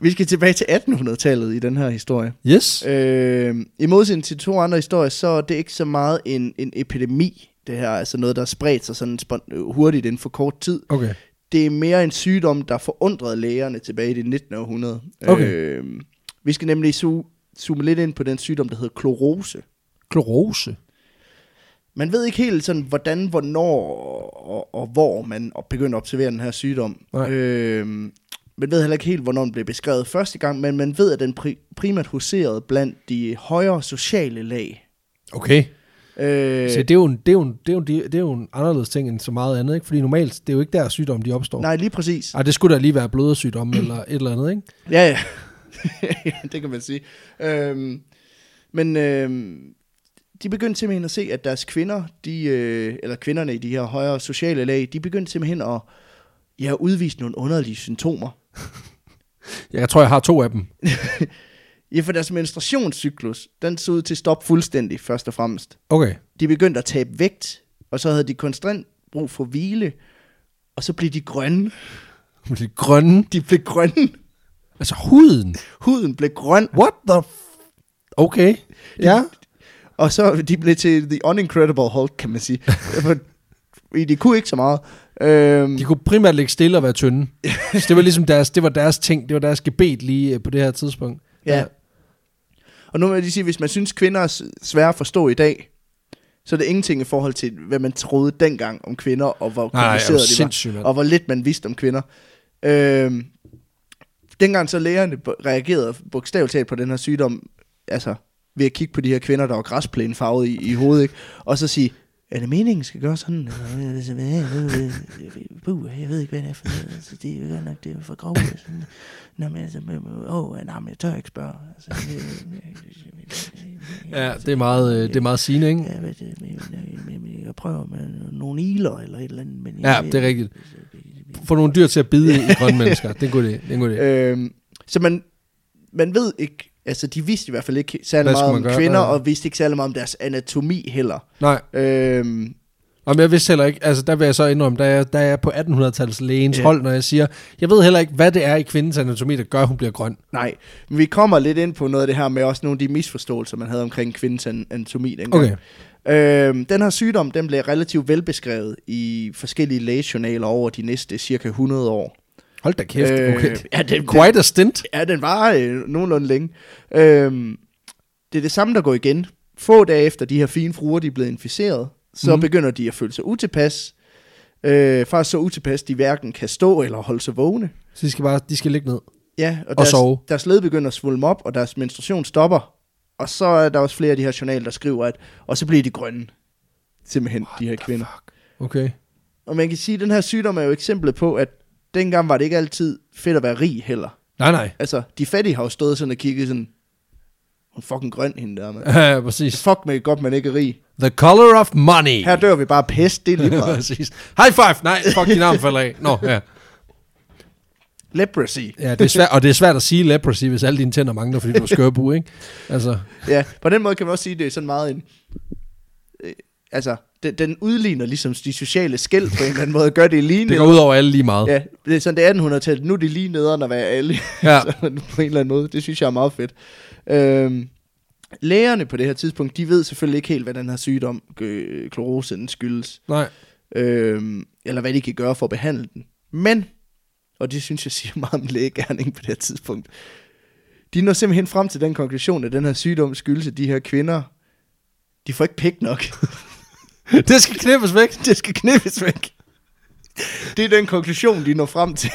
Speaker 1: Vi skal tilbage til 1800-tallet i den her historie.
Speaker 2: Yes.
Speaker 1: Øh, I modsætning til to andre historier, så er det ikke så meget en, en epidemi, det her. Altså noget, der er spredt sig sådan spon- øh, hurtigt inden for kort tid.
Speaker 2: Okay.
Speaker 1: Det er mere en sygdom, der forundrede lægerne tilbage i det 19. århundrede.
Speaker 2: Okay.
Speaker 1: Øh, vi skal nemlig su- zoome lidt ind på den sygdom, der hedder klorose.
Speaker 2: Klorose.
Speaker 1: Man ved ikke helt sådan, hvordan, hvornår og, og hvor man op- begyndte at observere den her sygdom.
Speaker 2: Nej.
Speaker 1: Øhm, man ved heller ikke helt, hvornår den blev beskrevet første gang, men man ved, at den pri- primært huserede blandt de højere sociale lag.
Speaker 2: Okay.
Speaker 1: Øh,
Speaker 2: Så det er, jo en, det, er jo en, det, er jo en, det er jo en anderledes ting end så meget andet, ikke? Fordi normalt, det er jo ikke der sygdomme, de opstår.
Speaker 1: nej, lige præcis.
Speaker 2: Ej, det skulle da lige være blødersygdomme eller et eller andet, ikke?
Speaker 1: Ja, ja. det kan man sige. Øhm, men øhm, de begyndte simpelthen at se, at deres kvinder, de, øh, eller kvinderne i de her højere sociale lag, de begyndte simpelthen at ja, udvise nogle underlige symptomer.
Speaker 2: Jeg tror, jeg har to af dem.
Speaker 1: Ja, for deres menstruationscyklus, den så ud til at stoppe fuldstændig, først og fremmest.
Speaker 2: Okay.
Speaker 1: De begyndte at tabe vægt, og så havde de konstant brug for hvile, og så blev de grønne.
Speaker 2: Men det grønne.
Speaker 1: De blev grønne.
Speaker 2: Altså huden.
Speaker 1: Huden blev grøn,
Speaker 2: What the f- Okay. Ja.
Speaker 1: og så de blev til The Unincredible Hulk, kan man sige. For de kunne ikke så meget. Øhm,
Speaker 2: De kunne primært ligge stille og være tynde. Så det var ligesom deres, det var deres ting, det var deres gebet lige øh, på det her tidspunkt.
Speaker 1: Ja. Og nu vil jeg lige sige, hvis man synes, kvinder er s- svære at forstå i dag, så er det ingenting i forhold til, hvad man troede dengang om kvinder, og hvor
Speaker 2: Nej, nej, er
Speaker 1: kompliceret
Speaker 2: du
Speaker 1: det var
Speaker 2: sindssyg, mand.
Speaker 1: og hvor lidt man vidste om kvinder. Øhm, dengang så lægerne b- reagerede bogstaveligt talt på den her sygdom, altså ved at kigge på de her kvinder, der var græsplæne farvet i, i hovedet, ikke? og så sige, er det meningen, skal gøre sådan? Puh, Jeg ved ikke, hvad det er for noget. Altså, det er jo godt nok, det er for grovt. og sådan. Nå, men altså, åh, nej, men jeg tør ikke spørge. Altså,
Speaker 2: Ja, det er meget, øh, det er meget sigende, ikke?
Speaker 1: jeg, ved, det, men jeg, men jeg prøver med nogle iler eller et eller andet. Men
Speaker 2: Ja, det er rigtigt. Få nogle dyr til at bide i grønne mennesker. Det er en god idé. Det er en god idé.
Speaker 1: Øhm, så man, man ved ikke, altså de vidste i hvert fald ikke særlig
Speaker 2: Hvad skulle
Speaker 1: meget
Speaker 2: man
Speaker 1: om
Speaker 2: gøre?
Speaker 1: kvinder,
Speaker 2: Ja.
Speaker 1: og vidste ikke særlig meget om deres anatomi heller.
Speaker 2: Nej,
Speaker 1: Øhm,
Speaker 2: og jeg vidste heller ikke, altså der vil jeg så indrømme, der er, der er jeg på 1800-tallets lægens
Speaker 1: Ja.
Speaker 2: hold, når jeg siger, jeg ved heller ikke, hvad det er i kvindens anatomi, der gør, at hun bliver grøn.
Speaker 1: nej, men vi kommer lidt ind på noget af det her med også nogle af de misforståelser, man havde omkring kvindens an- anatomi dengang.
Speaker 2: Okay.
Speaker 1: Øhm, den her sygdom, den blev relativt velbeskrevet i forskellige lægejournaler over de næste cirka 100 år.
Speaker 2: Hold da kæft. Okay.
Speaker 1: Øh, ja, den, den,
Speaker 2: Quite a stint.
Speaker 1: Ja, den var øh, nogenlunde længe. Øhm, det er det samme, der går igen. Få dage efter de her fine fruer, de er blevet inficeret, så
Speaker 2: Mhm.
Speaker 1: mm. begynder de at føle sig utilpas. Øh, faktisk så utilpas, de hverken kan stå eller holde sig vågne.
Speaker 2: Så de skal bare de skal ligge ned.
Speaker 1: Ja, og,
Speaker 2: Og
Speaker 1: deres,
Speaker 2: sove.
Speaker 1: deres led begynder at svulme op, og deres menstruation stopper. Og så er der også flere af de her journaler, der skriver, at og så bliver de grønne. Simpelthen, What de her kvinder.
Speaker 2: Okay.
Speaker 1: Og man kan sige, at den her sygdom er jo eksemplet på, at dengang var det ikke altid fedt at være rig heller.
Speaker 2: Nej, nej.
Speaker 1: Altså, de fattige har jo stået sådan og kigget sådan, hun er fucking grøn hende der, mand.
Speaker 2: Ja, præcis.
Speaker 1: Fuck med godt, man ikke er rig.
Speaker 2: The color of money.
Speaker 1: Her dør vi bare af pest, det er lige meget.
Speaker 2: præcis. High five. Nej, fuck, din arm falder af. Nå, ja.
Speaker 1: Leprosy.
Speaker 2: ja det er svært, og det er svært at sige leprosy, hvis alle dine tænder mangler, fordi du har skørbu, ikke? Altså,
Speaker 1: Ja, på den måde kan man også sige, det er sådan meget en... Øh, altså, den, den udligner ligesom de sociale skæld på en eller anden måde, gør det lige
Speaker 2: det
Speaker 1: ned.
Speaker 2: går ud over alle lige meget.
Speaker 1: Ja, det er sådan det er 1800-tallet, nu er det lige nederen at være alle.
Speaker 2: Ja.
Speaker 1: Så på en eller anden måde, det synes jeg er meget fedt. Øhm, lægerne på det her tidspunkt, de ved selvfølgelig ikke helt, hvad den her sygdom, øh, klorose, den skyldes.
Speaker 2: Nej.
Speaker 1: øh, eller hvad de kan gøre for at behandle den. Men, og det synes jeg siger meget om lægegærning på det her tidspunkt, de når simpelthen frem til den konklusion, at den her sygdom skyldes, at de her kvinder, de får ikke pik nok.
Speaker 2: Det skal knippes væk.
Speaker 1: det skal knippes væk. Det er den konklusion, de når frem til.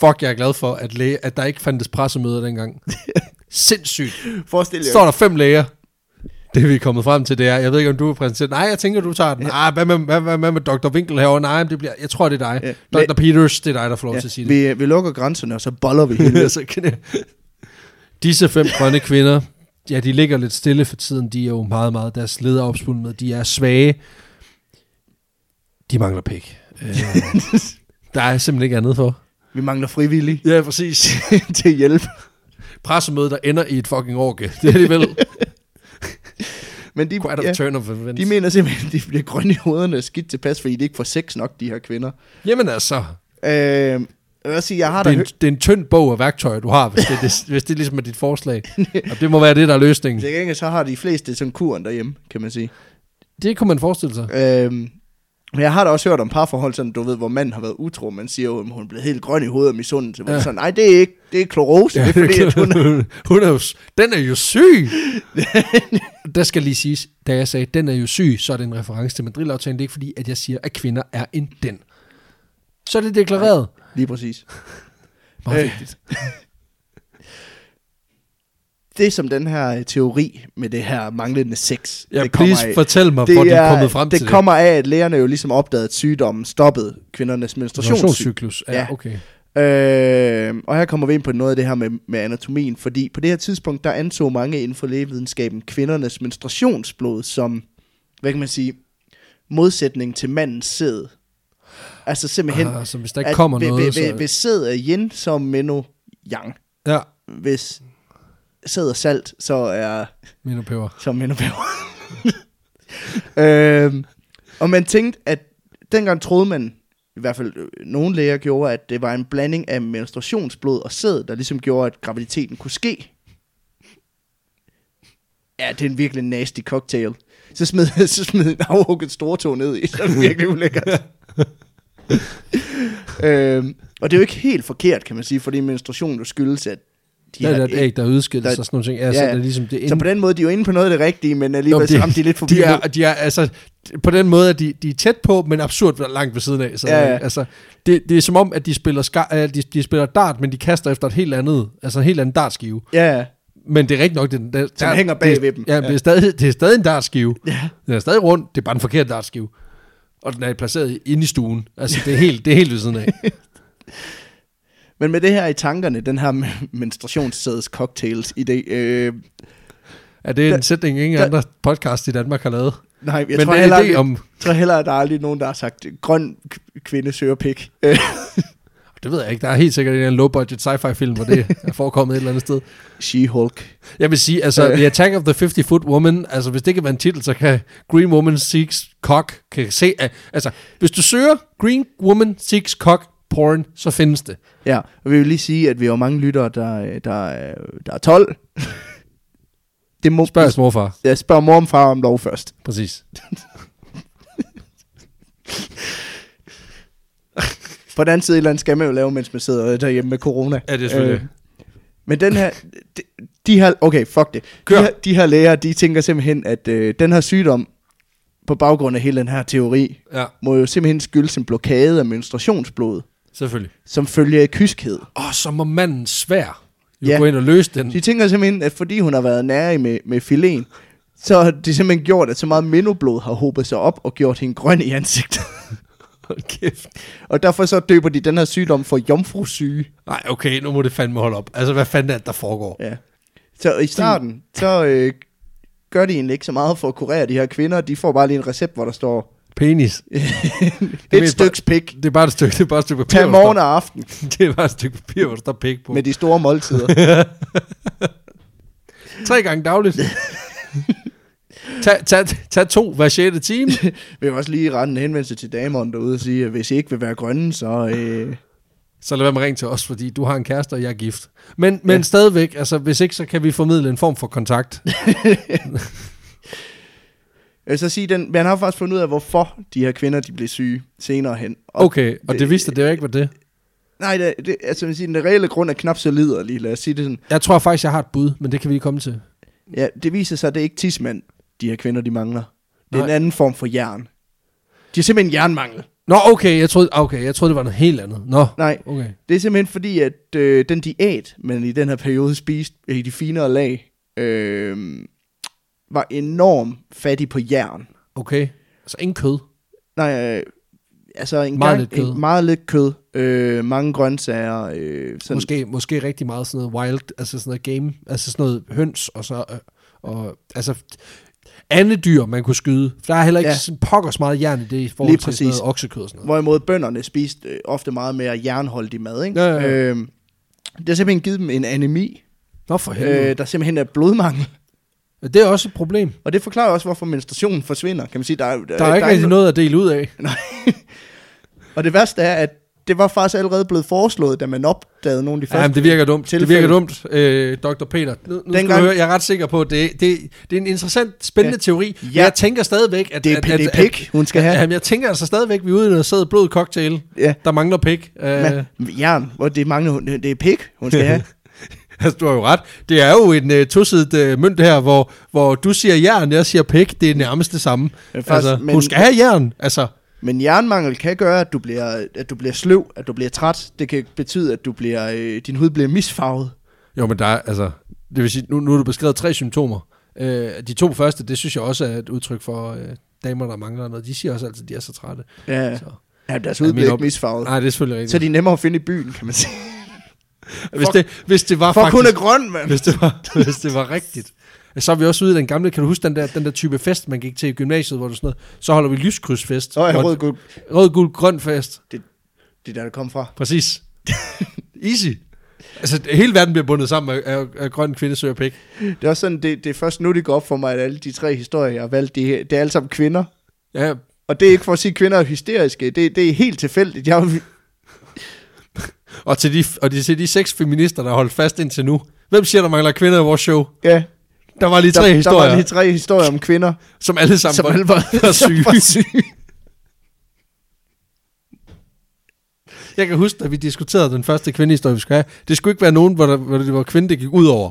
Speaker 2: Fuck, jeg er glad for, at, læge, at der ikke fandtes pressemøder dengang. Sindssygt.
Speaker 1: Forestil jer,
Speaker 2: Står der fem læger. Det vi er kommet frem til, det er, jeg ved ikke, om du vil præsentere Nej, jeg tænker, du tager den. Ah, hvad med, hvad, hvad, hvad med Dr. Winkel herovre? Nej, men det bliver, jeg tror, det er dig.
Speaker 1: Ja.
Speaker 2: Dr. Peters, det er dig, der får lov til at sige
Speaker 1: ja,
Speaker 2: det.
Speaker 1: vi, vi lukker grænserne, og så boller vi hele.
Speaker 2: Så kan jeg- Disse fem grønne kvinder, ja, de ligger lidt stille for tiden. De er jo meget, meget deres led er opspundet med. De er svage. De mangler pæk. Øh, der er simpelthen ikke andet for.
Speaker 1: vi mangler frivillige
Speaker 2: Ja, præcis.
Speaker 1: til hjælp.
Speaker 2: pressemøde, der ender i et fucking orke. Det er alligevel
Speaker 1: Men de,
Speaker 2: quite a
Speaker 1: ja,
Speaker 2: turn of events.
Speaker 1: de mener simpelthen, at de bliver grønne i hovederne og skidt tilpas, fordi de ikke får sex nok, de her kvinder.
Speaker 2: Jamen altså,
Speaker 1: Øh, jeg vil også sige, jeg har
Speaker 2: det
Speaker 1: da
Speaker 2: er, en, det er en tynd bog af værktøjer, du har, hvis det, det, hvis det ligesom er dit forslag. Og det må være det, der er løsningen.
Speaker 1: Til gengæld så har de fleste sådan kuren derhjemme, kan man sige.
Speaker 2: Det kunne man forestille sig.
Speaker 1: Øhm, men jeg har da også hørt om parforhold, sådan, du ved, hvor manden har været utro, man siger jo, at hun er blevet helt grøn i hovedet af misundelse. Ja.
Speaker 2: Ja.
Speaker 1: Sådan, nej, det er ikke, det er klorose, ja, det er fordi, at hun
Speaker 2: hun er jo, s- den er jo syg. der skal lige siges, da jeg sagde, den er jo syg, så er det en reference til Madrid-aftalen. Det er ikke fordi, at jeg siger, at kvinder er en den. Så er det deklareret.
Speaker 1: Lige præcis.
Speaker 2: Meget
Speaker 1: Øh.
Speaker 2: vigtigt.
Speaker 1: Det som den her øh, teori med det her manglende sex,
Speaker 2: Ja,
Speaker 1: det kommer
Speaker 2: please
Speaker 1: af.
Speaker 2: fortæl mig, hvor du er kommet frem
Speaker 1: det
Speaker 2: til
Speaker 1: kommer af, at lægerne jo ligesom opdagede, at sygdommen stoppede kvindernes
Speaker 2: det.
Speaker 1: menstruationscyklus.
Speaker 2: Menstruationscyklus. Ja,
Speaker 1: Ja.
Speaker 2: okay.
Speaker 1: Øh, og her kommer vi ind på noget af det her med, med anatomien, fordi på det her tidspunkt, der anså mange inden for lægevidenskaben kvindernes menstruationsblod som, hvad kan man sige, modsætning til mandens sæd. Altså simpelthen,
Speaker 2: Ah, så hvis der ikke kommer
Speaker 1: at, ved-
Speaker 2: noget,
Speaker 1: ved,
Speaker 2: så...
Speaker 1: ved, hvis sæd er yin, så er meno yang.
Speaker 2: Ja,
Speaker 1: Hvis sæd er salt, så er
Speaker 2: mine peber.
Speaker 1: som mænd og bæver. øhm, og man tænkte, at dengang troede man, i hvert fald øh, nogle læger gjorde, at det var en blanding af menstruationsblod og sæd, der ligesom gjorde, at graviditeten kunne ske. Ja, det er en virkelig nasty cocktail. Så smed, så smed en afhugget stortog ned i, så er det virkelig ulækkert. øhm, og det er jo ikke helt forkert, kan man sige, fordi menstruation jo skyldes, at
Speaker 2: De der er
Speaker 1: her
Speaker 2: der et æg, der udskilles
Speaker 1: der-
Speaker 2: og sådan nogle ting. Ja, så
Speaker 1: Ja,
Speaker 2: det
Speaker 1: ja.
Speaker 2: er ligesom det er
Speaker 1: Så
Speaker 2: inde-
Speaker 1: på den måde, de er jo inde på noget af det rigtige, men alligevel
Speaker 2: Nå,
Speaker 1: Jamen,
Speaker 2: men
Speaker 1: det, så ramte de lidt forbi.
Speaker 2: De er,
Speaker 1: nu.
Speaker 2: de er, altså, på den måde, at de, de er tæt på, men absurd langt ved siden af. Så,
Speaker 1: Ja, ja.
Speaker 2: Altså, det, det, er som om, at de spiller, ska, øh, de, de spiller dart, men de kaster efter et helt andet, altså en helt anden dartskive.
Speaker 1: Ja, ja.
Speaker 2: Men det er rigtigt nok, det, der,
Speaker 1: Som hænger bag
Speaker 2: det, er-
Speaker 1: ved dem.
Speaker 2: Ja,
Speaker 1: Ja.
Speaker 2: ja. Det, er stadig, det er stadig en dartskive.
Speaker 1: Ja.
Speaker 2: Den er stadig rundt, det er bare en forkert dartskive. Og den er placeret inde i stuen. Altså, det er helt, det er helt ved siden af.
Speaker 1: Men med det her i tankerne, den her men- menstruationssædes cocktails idé. Øh,
Speaker 2: Er det en
Speaker 1: Der-
Speaker 2: sætning, ingen
Speaker 1: der-
Speaker 2: andre podcast i Danmark har lavet?
Speaker 1: nej, jeg
Speaker 2: men
Speaker 1: tror,
Speaker 2: det
Speaker 1: heller,
Speaker 2: er en idé
Speaker 1: ikke-
Speaker 2: om...
Speaker 1: jeg tror heller, at der er aldrig nogen, der har sagt, grøn k- kvinde søger pik. Øh,
Speaker 2: Det ved jeg ikke. Der er helt sikkert en eller anden low-budget sci-fi-film, hvor det er forekommet et eller andet sted.
Speaker 1: She-Hulk.
Speaker 2: Jeg vil sige, altså, The Attack of the 50-Foot Woman, altså, hvis det kan være en titel, så kan Green Woman Seeks Cock, kan se, al- altså, hvis du søger Green Woman Seeks Cock porn, så findes det.
Speaker 1: Ja, og vi vil lige sige, at vi har mange lyttere, der, øh, der, øh, der er 12. det må,
Speaker 2: Spørg jeres morfar.
Speaker 1: Jeg spørger mor og far om lov først.
Speaker 2: Præcis.
Speaker 1: På den anden side, et eller andet skal man jo lave, mens man sidder derhjemme med corona. Øh,
Speaker 2: Ja, det er selvfølgelig.
Speaker 1: men den her, de, de her, okay, fuck det. De
Speaker 2: Kør.
Speaker 1: her, de her læger, de tænker simpelthen, at øh, den her sygdom, på baggrund af hele den her teori,
Speaker 2: Øh, Ja,
Speaker 1: må jo simpelthen skyldes en blokade af menstruationsblod,
Speaker 2: selvfølgelig.
Speaker 1: som følge af kyskhed.
Speaker 2: Og så må manden svær jo ja.
Speaker 1: Ja.
Speaker 2: gå ind og løse den.
Speaker 1: De tænker simpelthen, at fordi hun har været nærig med, med filen, så har det simpelthen gjort, at så meget mindoblod har hobet sig op og gjort hende grøn i ansigtet.
Speaker 2: Hold kæft.
Speaker 1: og derfor så døber de den her sygdom for jomfrusyge.
Speaker 2: Nej, okay, nu må det fandme holde op. Altså, hvad fanden er det, der foregår?
Speaker 1: Ja. Så i starten, så øh, gør de egentlig ikke så meget for at kurere de her kvinder. De får bare lige en recept, hvor der står
Speaker 2: Penis.
Speaker 1: et
Speaker 2: mest-
Speaker 1: styks pik.
Speaker 2: Det er bare et stykke, det er bare et stykke papir.
Speaker 1: Tag
Speaker 2: hvor der
Speaker 1: morgen og aften
Speaker 2: står- Det er bare et stykke papir, hvor der står pik på.
Speaker 1: med de store måltider.
Speaker 2: Tre gange dagligt. tag, tag, tag to hver 6. time.
Speaker 1: Vi vil også lige rette en henvendelse til damerne derude og sige, at hvis I ikke vil være grønne, så... Øh,
Speaker 2: Så lad være med at ringe til os, fordi du har en kæreste, og jeg er gift. Men, men ja. stadigvæk, altså, hvis ikke, så kan vi formidle en form for kontakt.
Speaker 1: jeg vil øh, så sige, den, man har faktisk fundet ud af, hvorfor de her kvinder de blev syge senere hen. Og,
Speaker 2: Okay, og det vidste det jo ikke, var det.
Speaker 1: Nej, det, det, altså, jeg vil sige, den reelle grund er knap så liderlig, lad os sige det sådan.
Speaker 2: Jeg tror faktisk, jeg har et bud, men det kan vi lige komme til.
Speaker 1: Ja, det viser sig, at det er ikke tidsmand, de her kvinder de mangler. Det er
Speaker 2: Nej.
Speaker 1: en anden form for jern. De har simpelthen jernmangel.
Speaker 2: Nå, okay, jeg troede, ah, okay, jeg troede det var noget helt andet. Nå,
Speaker 1: Nej,
Speaker 2: okay.
Speaker 1: Det er simpelthen fordi, at øh, den diæt, man i den her periode spiste i de finere lag, øh, var enormt fattig på jern.
Speaker 2: Okay, altså ingen kød.
Speaker 1: Nej, øh, altså en
Speaker 2: Meget
Speaker 1: gang,
Speaker 2: lidt kød.
Speaker 1: En, meget lidt kød, øh, mange grøntsager. Øh, sådan,
Speaker 2: Måske, måske rigtig meget sådan noget wild, altså sådan noget game, altså sådan noget høns, og så, øh, og, altså, andet dyr, man kunne skyde. For der er heller ikke ja.
Speaker 1: Ja.
Speaker 2: sådan pokkers meget jern i det, i forhold
Speaker 1: Lige
Speaker 2: til sådan
Speaker 1: præcis.
Speaker 2: noget oksekød og sådan noget.
Speaker 1: Hvorimod bønderne spiste øh, ofte meget mere jernholdig mad. Ikke?
Speaker 2: Ja, ja, ja.
Speaker 1: Øh, det har simpelthen givet dem en anemi,
Speaker 2: Nå for helvede.
Speaker 1: øh, der simpelthen er blodmangel.
Speaker 2: Øh, det er også et problem.
Speaker 1: Og det forklarer også, hvorfor menstruationen forsvinder. Kan man sige, der, er-
Speaker 2: Der er ikke rigtig noget at dele ud af.
Speaker 1: Og det værste er, at det var faktisk allerede blevet foreslået, da man opdagede nogle af de første.
Speaker 2: Ja, men det virker dumt. Tilfælde. Det
Speaker 1: tilfælde.
Speaker 2: virker dumt, øh, Dr. Peter. Nu, nu skal du
Speaker 1: Dengang-
Speaker 2: høre, jeg er ret sikker på, at det, det, det er en interessant, spændende
Speaker 1: Ja.
Speaker 2: ja. teori. Ja. Men
Speaker 1: Ja.
Speaker 2: jeg tænker stadigvæk, at...
Speaker 1: Det er-
Speaker 2: at,
Speaker 1: det er
Speaker 2: at-
Speaker 1: pik, hun skal have.
Speaker 2: At, jamen, jeg tænker altså stadigvæk, at vi er ude i noget sød blød cocktail,
Speaker 1: Ja.
Speaker 2: der mangler pik. Øh,
Speaker 1: Men, jern, hvor det mangler hun, det er pik, hun skal have.
Speaker 2: altså, du har jo ret. Det er jo en øh, tosidet øh, mønt her, hvor, hvor du siger jern, jeg siger pik. Det er nærmest det samme.
Speaker 1: Men faktisk,
Speaker 2: altså, men...
Speaker 1: men-
Speaker 2: Hun skal have jern. Altså,
Speaker 1: Men jernmangel kan gøre, at du, bliver, at du bliver sløv, at du bliver træt. Det kan betyde, at du bliver, øh, din hud bliver misfarvet.
Speaker 2: Jo, men der er, altså, det vil sige, nu, nu har du beskrevet tre symptomer. Øh, de to første, det synes jeg også er et udtryk for øh, damer, der mangler noget. De siger også altid, at de er så trætte.
Speaker 1: Ja,
Speaker 2: Så.
Speaker 1: ja deres
Speaker 2: Ja,
Speaker 1: hud
Speaker 2: min
Speaker 1: bliver
Speaker 2: op-
Speaker 1: ikke misfarvet.
Speaker 2: Nej, det er selvfølgelig
Speaker 1: Så er
Speaker 2: rigtigt.
Speaker 1: de nemmere at finde i byen, kan man sige.
Speaker 2: De, hvis, det, hvis det var
Speaker 1: For
Speaker 2: faktisk,
Speaker 1: hun er grøn, mand.
Speaker 2: hvis, det var, hvis det var rigtigt. Så er vi også ude i den gamle, kan du huske den der, den der type fest, man gik til i gymnasiet, hvor du sådan noget, så holder vi lyskrydsfest.
Speaker 1: Nå, jeg
Speaker 2: Hvor-
Speaker 1: rød guld.
Speaker 2: rød, gul, grøn fest.
Speaker 1: Det er der, der kom fra.
Speaker 2: Præcis. Easy. Altså, hele verden bliver bundet sammen af, af, af grøn kvindesøger pik.
Speaker 1: Det er også sådan, det, det er først nu, det går op for mig, at alle de tre historier, jeg har valgt, det, er- det er alle sammen kvinder.
Speaker 2: Ja,
Speaker 1: Og det er ikke for at sige, at kvinder er hysteriske. Det, det er helt tilfældigt. Jeg, har-
Speaker 2: Og til de, og de, til de seks feminister, der har holdt fast indtil nu. Hvem siger, der mangler kvinder i vores show?
Speaker 1: ja,
Speaker 2: Der var lige
Speaker 1: der,
Speaker 2: tre der, historier,
Speaker 1: der var lige tre historier om kvinder,
Speaker 2: som alle sammen
Speaker 1: som
Speaker 2: var,
Speaker 1: alle var,
Speaker 2: var syge.
Speaker 1: var syge.
Speaker 2: Jeg kan huske, da vi diskuterede den første kvindehistorie, vi skulle have. Det skulle ikke være nogen, hvor, der, hvor det var kvinde, det gik ud over.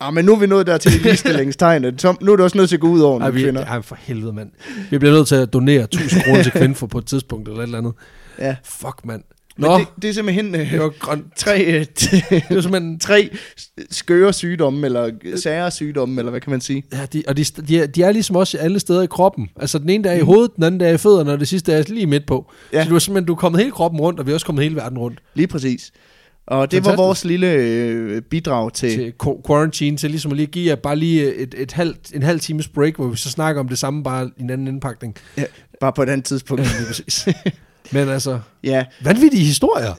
Speaker 1: Ah, men nu er vi nået der til ligestillingstegnet. Så nu er det også nødt til at gå ud over
Speaker 2: Ej,
Speaker 1: nogle
Speaker 2: vi,
Speaker 1: kvinder.
Speaker 2: ej, for helvede, mand. Vi bliver nødt til at donere 1000 kroner til kvinden for på et tidspunkt, eller et eller andet.
Speaker 1: Ja.
Speaker 2: Fuck, mand.
Speaker 1: Men
Speaker 2: Nå, det,
Speaker 1: det, det er simpelthen øh,
Speaker 2: det var grønt.
Speaker 1: tre, øh,
Speaker 2: Det var simpelthen...
Speaker 1: tre skøre sygdomme, eller sære sygdomme, eller hvad kan man sige?
Speaker 2: Ja, de, og de, de, er, de er ligesom også alle steder i kroppen. Altså, den ene der er i hovedet, den anden der er i fødderne, og det sidste er lige midt på.
Speaker 1: Mm.
Speaker 2: Ja.
Speaker 1: Ja.
Speaker 2: Så du er simpelthen du er kommet hele kroppen rundt, og vi er også kommet hele verden rundt.
Speaker 1: Lige præcis. Og det
Speaker 2: Fantastisk.
Speaker 1: var vores lille øh, bidrag til...
Speaker 2: til qu- quarantine, til ligesom at lige give jer bare lige et, et halvt, en halv times break, hvor vi så snakker om det samme, bare i en anden indpakning.
Speaker 1: Ja, bare på et andet tidspunkt.
Speaker 2: Lige præcis. Men altså,
Speaker 1: ja.
Speaker 2: vanvittige historier.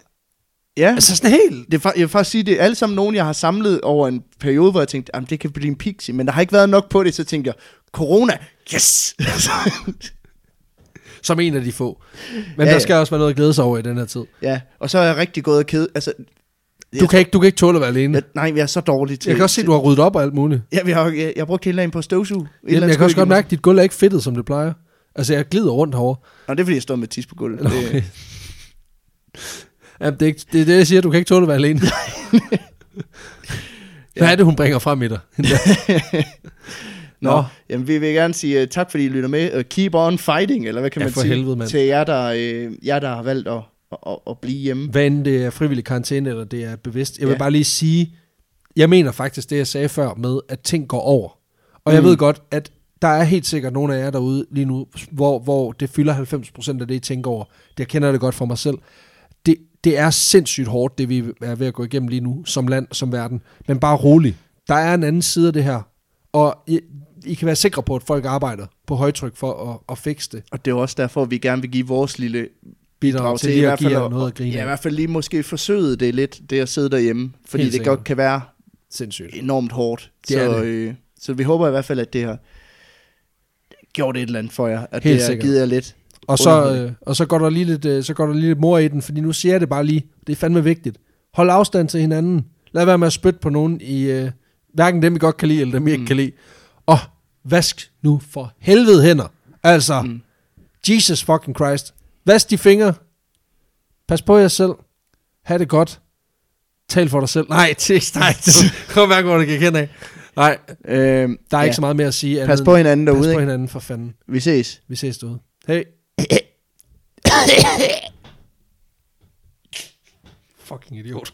Speaker 1: ja.
Speaker 2: Altså sådan helt.
Speaker 1: Det er, fa- jeg vil faktisk sige, det er alle sammen nogen, jeg har samlet over en periode, hvor jeg tænkte, at det kan blive en pixie, men der har ikke været nok på det, så tænkte jeg, corona, yes!
Speaker 2: Som en af de få. Men ja,
Speaker 1: Ja,
Speaker 2: der
Speaker 1: ja.
Speaker 2: skal også være noget at glæde sig over i den her tid.
Speaker 1: ja, og så er jeg rigtig gået og ked. Altså,
Speaker 2: Du kan ikke, du kan ikke tåle at være alene.
Speaker 1: jeg,
Speaker 2: Jeg,
Speaker 1: nej, jeg er så dårlig til...
Speaker 2: jeg kan også se, at du har ryddet op og alt muligt.
Speaker 1: Ja, vi har, jeg, jeg har brugt hele dagen på at støvsuge. Et eller
Speaker 2: Jamen,
Speaker 1: andet
Speaker 2: jeg kan også
Speaker 1: skud
Speaker 2: godt
Speaker 1: igennem.
Speaker 2: mærke, at dit gulv er ikke fedtet, som det plejer. Altså, jeg glider rundt herovre.
Speaker 1: Nå, det er fordi, jeg står med Øh, tis på gulvet.
Speaker 2: Okay.
Speaker 1: Det,
Speaker 2: Jamen, det, er ikke, det er det, jeg siger. Du kan ikke tåle at være alene. Hvad er det, hun bringer frem i dig?
Speaker 1: Nå,
Speaker 2: Nå.
Speaker 1: jamen, vi vil gerne sige uh, tak, fordi I lytter med. Uh, keep on fighting, eller hvad kan
Speaker 2: Ja,
Speaker 1: man
Speaker 2: for
Speaker 1: sige?
Speaker 2: helvede, mand.
Speaker 1: Til jer der, uh, jer, der har valgt at, at, at, at blive hjemme.
Speaker 2: Hvad end det er frivillig karantæne, eller det er bevidst. Jeg vil ja.
Speaker 1: Ja.
Speaker 2: bare lige sige, jeg mener faktisk det, jeg sagde før med, at ting går over. Og jeg
Speaker 1: Mm.
Speaker 2: ved godt, at der er helt sikkert nogle af jer derude lige nu, hvor, hvor det fylder 90% af det, I tænker over. Det- Jeg kender det godt for mig selv. Det, det er sindssygt hårdt, det vi er ved at gå igennem lige nu, som land, som verden. Men bare rolig. Der er en anden side af det her. Og I, I kan være sikre på, at folk arbejder på højtryk for at, at fikse det.
Speaker 1: Og det er jo også derfor, vi gerne vil give vores lille
Speaker 2: Bidrag til lige at give jer noget at grine
Speaker 1: ja, i
Speaker 2: af.
Speaker 1: hvert fald lige måske forsøget det lidt, det at sidde derhjemme. Fordi
Speaker 2: Helt
Speaker 1: det
Speaker 2: sikkert.
Speaker 1: godt kan være
Speaker 2: Sindssygt.
Speaker 1: enormt hårdt.
Speaker 2: Det er
Speaker 1: så,
Speaker 2: det.
Speaker 1: Øh, så vi håber i hvert fald, at det har gjort et eller andet for jer. At
Speaker 2: Helt
Speaker 1: det har
Speaker 2: sikkert.
Speaker 1: givet jer lidt.
Speaker 2: Og så,
Speaker 1: Underholdning.
Speaker 2: øh, og så går der lige lidt, øh, så går der lige lidt mor i den, fordi nu siger jeg det bare lige. Det er fandme vigtigt. Hold afstand til hinanden. Lad være med at spytte på nogen i øh, hverken dem, I godt kan lide, eller dem, I
Speaker 1: Mm.
Speaker 2: ikke kan lide. Og vask nu for helvede hænder. Altså, mm. Jesus fucking Christ. Vask de fingre. Pas på jer selv. Ha' det godt. Tal for dig selv. Nej, det, nej, det, kom mærke, hvor det gik hen af. Nej,
Speaker 1: Øh, der
Speaker 2: Øhm, der er ja. ikke så meget mere at sige. andet
Speaker 1: Pas
Speaker 2: end-
Speaker 1: på hinanden
Speaker 2: pas
Speaker 1: derude.
Speaker 2: på
Speaker 1: ikke?
Speaker 2: hinanden, for fanden.
Speaker 1: Vi ses.
Speaker 2: Vi ses derude. Hey. Fucking idiot.